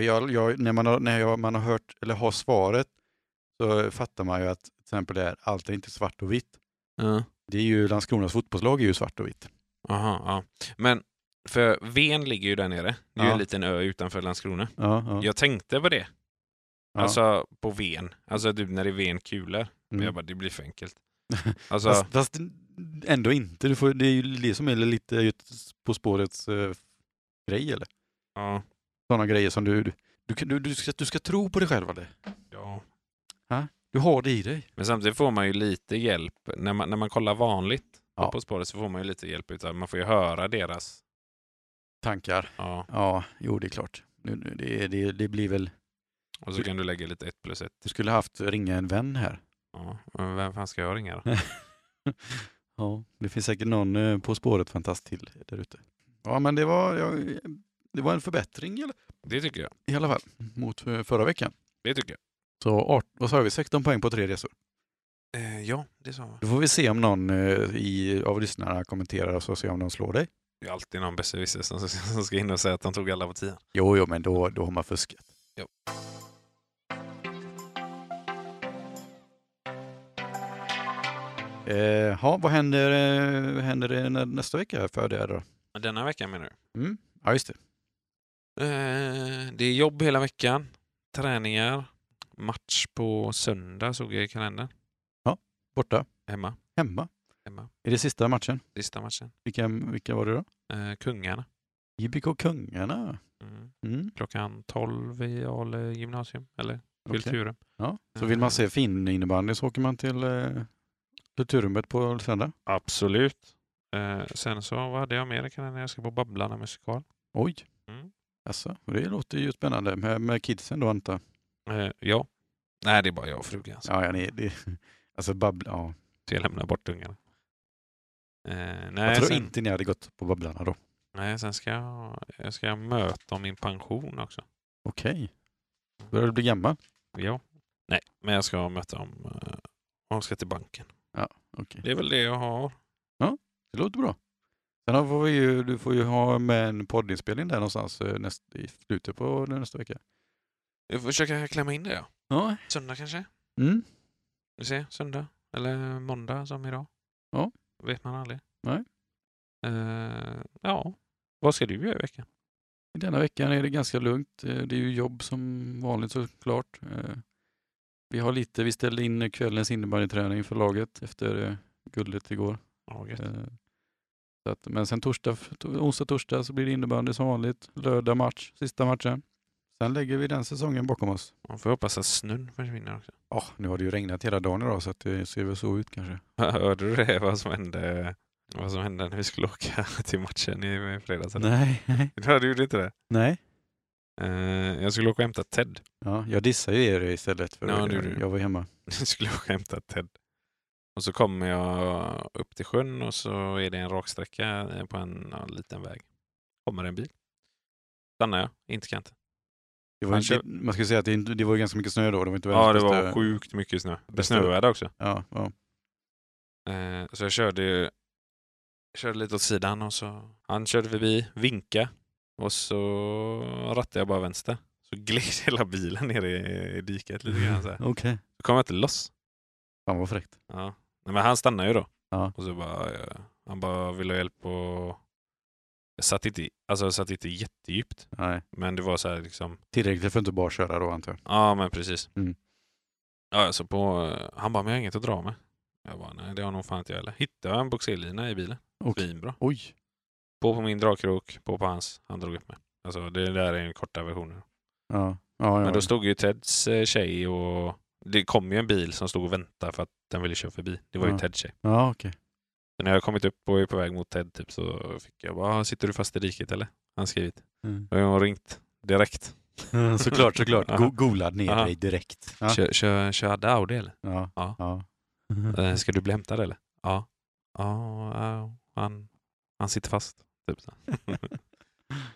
Speaker 1: Jag, jag, när man har, när jag, man har hört eller har svaret så fattar man ju att till exempel det här, allt är inte svart och vitt.
Speaker 2: Ja.
Speaker 1: Det är ju Landskronas fotbollslag är ju svart och vitt.
Speaker 2: Aha, ja. Men för Ven ligger ju där nere. Det är ju
Speaker 1: Ja.
Speaker 2: en liten ö utanför Landskrona.
Speaker 1: Ja, ja.
Speaker 2: Jag tänkte på det.
Speaker 1: ja.
Speaker 2: Alltså på Ven. Alltså typ när det är Venkulor. Men
Speaker 1: Mm.
Speaker 2: jag bara, det blir för enkelt. Alltså,
Speaker 1: fast, fast ändå inte. Du får, det är ju det som är lite just På spårets eh, grej eller
Speaker 2: ja.
Speaker 1: sådana grejer som du du, du, kan- du, du, ska, du ska tro på dig själv. Eller?
Speaker 2: ja.
Speaker 1: Du har det i dig.
Speaker 2: Men samtidigt får man ju lite hjälp. När man, när man kollar vanligt
Speaker 1: Ja.
Speaker 2: på På spåret så får man ju lite hjälp. Utan man får ju höra deras...
Speaker 1: Tankar.
Speaker 2: Ja.
Speaker 1: Ja, jo det är klart. Nu, nu, det, det, det blir väl,
Speaker 2: Och så kan du lägga lite ett plus ett.
Speaker 1: du skulle haft ringa en vän här.
Speaker 2: Ja. Men vem fan ska jag ringa då?
Speaker 1: Ja, det finns säkert någon eh, På spåret-fantast till där ute. Ja, men det var, ja, det var en förbättring i alla-
Speaker 2: Det tycker jag.
Speaker 1: i alla fall mot eh, förra veckan.
Speaker 2: Det tycker jag.
Speaker 1: Så art, vad sa vi, 16 poäng på tre resor.
Speaker 2: Eh, ja, det sa man.
Speaker 1: Då får vi se om någon eh, i, av lyssnarna kommenterar och så se om de slår dig.
Speaker 2: Det är alltid någon besserwisser som, som ska in och säga att de tog alla på tio.
Speaker 1: Jo, jo, men då, då har man fuskat.
Speaker 2: Jo.
Speaker 1: Eh, ha, vad händer, eh, händer det nä- nästa vecka för dig då?
Speaker 2: Men Denna veckan menar du?
Speaker 1: Mm. Ja, just det.
Speaker 2: Eh, det är jobb hela veckan. Träningar. Match på söndag såg jag i kalendern.
Speaker 1: Borta,
Speaker 2: Hemma.
Speaker 1: hemma.
Speaker 2: Hemma.
Speaker 1: Är det sista matchen?
Speaker 2: Sista matchen.
Speaker 1: Vilka, vilka var det då?
Speaker 2: Eh, kungarna.
Speaker 1: JBK Kungarna.
Speaker 2: Mm.
Speaker 1: Mm.
Speaker 2: Klockan 12 i Ale gymnasium. Eller
Speaker 1: okej.
Speaker 2: Kulturen.
Speaker 1: Ja. Så vill man se fin innebandy så åker man till eh, Kulturrummet på söndag.
Speaker 2: Absolut. Eh, sen så, vad hade jag mer i kalendern? Jag ska på Babblarna musikal.
Speaker 1: Oj!
Speaker 2: Mm.
Speaker 1: Alltså, det låter ju spännande. Med, med kidsen då antar jag.
Speaker 2: Eh, ja. Nej, det är bara jag och frugan. Så
Speaker 1: Ja, ja, nej, det, alltså babbla, ja.
Speaker 2: jag lämnar bort ungarna. Eh, nej,
Speaker 1: Jag tror
Speaker 2: sen,
Speaker 1: inte ni hade gått på Babblarna då.
Speaker 2: nej, sen ska jag, jag ska möta om min pension också.
Speaker 1: Okej. Börjar du bli gammal?
Speaker 2: Ja. Nej, men jag ska möta om... eh, Hon ska till banken.
Speaker 1: Okej.
Speaker 2: Det är väl det jag har.
Speaker 1: Det låter bra. Sen har- får vi ju, du får ju ha med en poddinspelning där någonstans eh, näst, i slutet på nästa vecka.
Speaker 2: Jag får försöka klämma in det, ja.
Speaker 1: Ja.
Speaker 2: Söndag kanske?
Speaker 1: Mm.
Speaker 2: Vi ser, söndag. Eller måndag som idag.
Speaker 1: Ja.
Speaker 2: Vet man aldrig.
Speaker 1: Nej.
Speaker 2: Eh, ja. Vad ska du göra i veckan?
Speaker 1: I denna veckan är det ganska lugnt. Eh, Det är ju jobb som vanligt såklart. Eh, Vi har lite, vi ställde in kvällens innebandyträning för laget efter eh, guldet igår.
Speaker 2: Ja, gött.
Speaker 1: Eh, Så att, men sen torsdag, to- onsdag, torsdag så blir det innebandy som vanligt. Lördag match, sista matchen. Sen lägger vi den säsongen bakom oss.
Speaker 2: Man får hoppas att snön försvinner också.
Speaker 1: Ja, nu har det ju regnat hela dagen idag så att det ser väl så ut kanske.
Speaker 2: Hörde du det? Vad som hände, vad som hände när vi skulle åka till matchen i i fredags? eller?
Speaker 1: Nej, nej,
Speaker 2: Du hörde ju inte det.
Speaker 1: nej.
Speaker 2: Eh, jag skulle åka och hämta Ted.
Speaker 1: Ja, jag dissar ju er istället för
Speaker 2: Ja, det gjorde du.
Speaker 1: jag var hemma.
Speaker 2: Jag skulle åka och hämta Ted. Och så kommer jag upp till sjön och så är det en raksträcka på en ja, liten väg. Kommer en bil. Stannar jag, inte kan inte.
Speaker 1: Det var
Speaker 2: Han
Speaker 1: inte,
Speaker 2: kör-
Speaker 1: man ska säga att det, inte- det var ju ganska mycket snö då. Det var inte
Speaker 2: Ja, det
Speaker 1: världens
Speaker 2: var
Speaker 1: bästa-
Speaker 2: sjukt mycket snö. Det
Speaker 1: bästa-
Speaker 2: snöade också.
Speaker 1: Ja, ja.
Speaker 2: Eh, så jag körde, ju- körde lite åt sidan och så han körde förbi, vinka och så rattade jag bara vänster. Så gled hela bilen ner i, i diket lite grann. Så här.
Speaker 1: Okej.
Speaker 2: Då kom jag inte loss.
Speaker 1: Fan vad fräckt.
Speaker 2: Ja. Nej, men han stannade ju då.
Speaker 1: Ja.
Speaker 2: Och så bara, eh, han bara ville ha hjälp och jag satt inte, i- alltså jag satt inte jättedjupt.
Speaker 1: Nej.
Speaker 2: Men det var så här liksom,
Speaker 1: Tillräckligt för att inte bara köra då antar jag.
Speaker 2: ja men precis.
Speaker 1: Mm.
Speaker 2: Ja, så på, eh, han bara, men jag har inget att dra med. Jag bara, nej det har nog fan inte jag heller. Hittade jag en boxerlina i bilen.
Speaker 1: Okej.
Speaker 2: Svinbra.
Speaker 1: Oj.
Speaker 2: På på min dragkrok, på på hans. Han drog upp mig. Alltså det där är den korta versionen.
Speaker 1: Ja. Ja, ja.
Speaker 2: Men då stod ju Teds eh, tjej och det kom ju en bil som stod och väntade för att den ville köra förbi. Det var ju
Speaker 1: Ja.
Speaker 2: Teds tjej.
Speaker 1: ja okej.
Speaker 2: Så när jag kommit upp och är på väg mot Ted typ så fick jag bara, "Ah, sitter du fast i diket eller? Han skrivit.
Speaker 1: Mm.
Speaker 2: Och jag har ringt direkt.
Speaker 1: Mm, Såklart, såklart.
Speaker 2: Ja.
Speaker 1: Go golad ner
Speaker 2: Ja.
Speaker 1: dig direkt. Ja.
Speaker 2: Kör, kör, kör Adde Audi eller?
Speaker 1: Ja.
Speaker 2: Ja.
Speaker 1: ja.
Speaker 2: Eh, Ska du bli hämtad eller? Ja. Ja, ja, eh, han, han sitter fast. Typ så.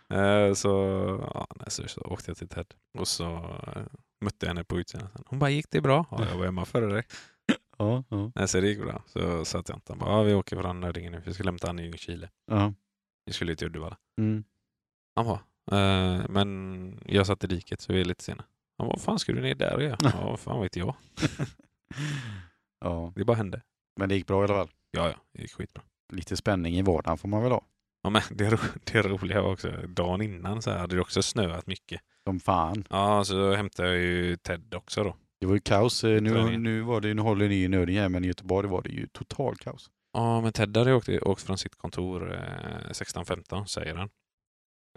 Speaker 2: Eh, så, ja, nej, så, så åkte jag till Ted och så eh, mötte jag henne på utsidan. sen. Hon bara, gick det bra? Ja, jag var hemma före dig.
Speaker 1: ja, ja.
Speaker 2: Nej, så det gick bra. Så satt jag inte. Han bara, ja, vi åker från Nödinge nu. Vi skulle hämta han i Ljungskile.
Speaker 1: ja.
Speaker 2: Vi skulle till Uddevalla.
Speaker 1: Mm.
Speaker 2: Han bara, eh, men jag satt i diket så vi är lite sena. Han bara, vad fan ska du ner där och göra? Ja, vad fan vet jag.
Speaker 1: ja.
Speaker 2: Det bara hände.
Speaker 1: Men det gick bra i alla fall.
Speaker 2: Ja, ja, det gick skitbra.
Speaker 1: Lite spänning i vardagen får man väl ha.
Speaker 2: Ja, men det, ro det roliga var också, dagen innan så här hade det också snöat mycket.
Speaker 1: Som fan.
Speaker 2: Ja, så hämtade jag ju Ted också då.
Speaker 1: Det var ju kaos. Eh, Nu,
Speaker 2: Träningen.
Speaker 1: nu, var det, nu håller ni i nöden här, men i Göteborg var det ju total kaos.
Speaker 2: Ja, men Ted hade åkt, åkt från sitt kontor eh, 16.15, säger han.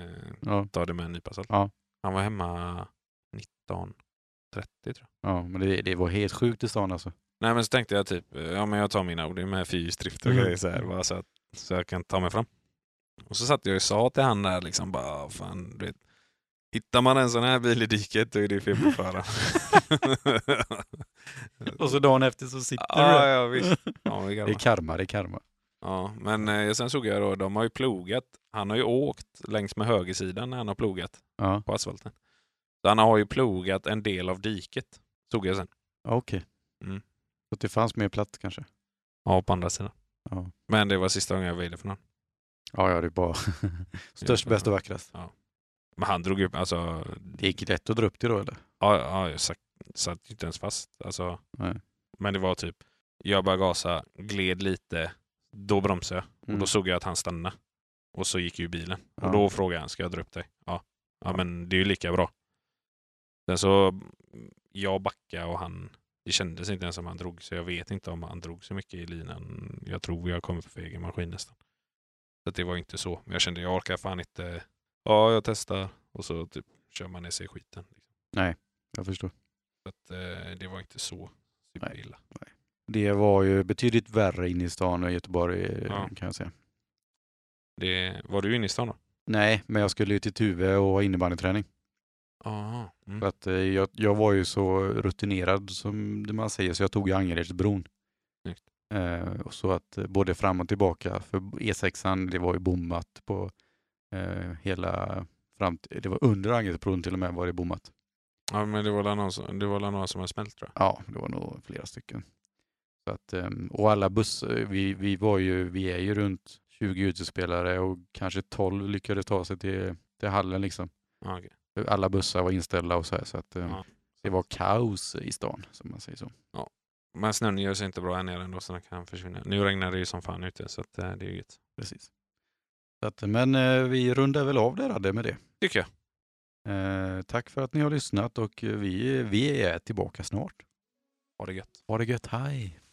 Speaker 2: Eh,
Speaker 1: Ja,
Speaker 2: ta det med en nypa salt.
Speaker 1: Ja.
Speaker 2: Han var hemma 19.30 tror jag.
Speaker 1: ja men det, det var helt sjukt i stan alltså.
Speaker 2: Nej, men så tänkte jag typ, eh, ja men jag tar mina ord med fyrhjulsdrift och
Speaker 1: Mm.
Speaker 2: grejer så här, bara så, att, så jag kan ta mig fram. Och så satt jag och sa till han där liksom bara, fan du vet, hittar man en sån här bil i diket då är det fel på föraren.
Speaker 1: Och så dagen efter så sitter
Speaker 2: ja, ja visst. Ja, vi
Speaker 1: Det
Speaker 2: garvar.
Speaker 1: är karma, det är karma.
Speaker 2: Ja, men eh, sen såg jag då, de har ju plogat. Han har ju åkt längs med högersidan när han har plogat
Speaker 1: Ja,
Speaker 2: på asfalten. Så han har ju plogat en del av diket, såg jag sen.
Speaker 1: ja, okej.
Speaker 2: Mm.
Speaker 1: Så att det fanns mer plats kanske?
Speaker 2: Ja, på andra sidan.
Speaker 1: Ja,
Speaker 2: Men det var sista gången jag väjde från honom.
Speaker 1: ja, ja det är bara störst,
Speaker 2: Ja,
Speaker 1: bäst och vackrast.
Speaker 2: Men han drog upp, alltså,
Speaker 1: Det gick rätt att dra upp det då eller?
Speaker 2: ja, ja jag satt, satt ju inte ens fast. Alltså,
Speaker 1: Nej.
Speaker 2: men det var typ, Jag började gasa, gled lite. Då bromsade jag och
Speaker 1: Mm.
Speaker 2: då såg jag att han stannade. Och så gick ju bilen.
Speaker 1: Ja.
Speaker 2: Och då frågade han, ska jag dra upp dig? Ja. Ja, men det är ju lika bra. Sen så, jag backade och han, det kändes inte ens som han drog, så jag vet inte om han drog så mycket i linan. Jag tror jag kom upp för egen maskin nästan. Så att det var inte så. Men jag kände, jag orkar fan inte. Ja, jag testar. Och så typ kör man ner sig i skiten.
Speaker 1: Jag förstår.
Speaker 2: Så att, eh, det var inte så superilla.
Speaker 1: Det var ju betydligt värre inne i stan och i Göteborg eh,
Speaker 2: Ja.
Speaker 1: kan jag säga.
Speaker 2: Det, var du inne i stan då?
Speaker 1: Nej, men jag skulle ju till Tuve och ha innebandyträning.
Speaker 2: Aha. Mm.
Speaker 1: För att eh, jag, jag var ju så rutinerad som det man säger så jag tog ju Angeredsbron.
Speaker 2: Snyggt.
Speaker 1: Eh, och så att eh, både fram och tillbaka, för E6an det var ju bommat på eh, hela fram till, det var under Angeredsbron till och med var det bommat.
Speaker 2: Ja, men det var väl någon som, det var väl någon som hade smält tror jag.
Speaker 1: Ja, det var nog flera stycken. Så att, ehm, och alla bussar, vi, vi var ju, vi är ju runt 20 utespelare och kanske 12 lyckades ta sig till, till hallen liksom.
Speaker 2: Ja, okej.
Speaker 1: Alla bussar var inställda och så här så att ehm,
Speaker 2: Ja.
Speaker 1: det var kaos i stan som man säger så.
Speaker 2: Men snön gör sig inte bra här nere ändå så den kan försvinna. Nu regnar det ju som fan ute så att, eh, det är ju gött.
Speaker 1: Precis. Så att, men eh, vi rundar väl av det Radde med det.
Speaker 2: Tycker jag.
Speaker 1: Eh, tack för att ni har lyssnat och eh, vi, vi är tillbaka snart.
Speaker 2: Ha det gött.
Speaker 1: Ha det gött, hej!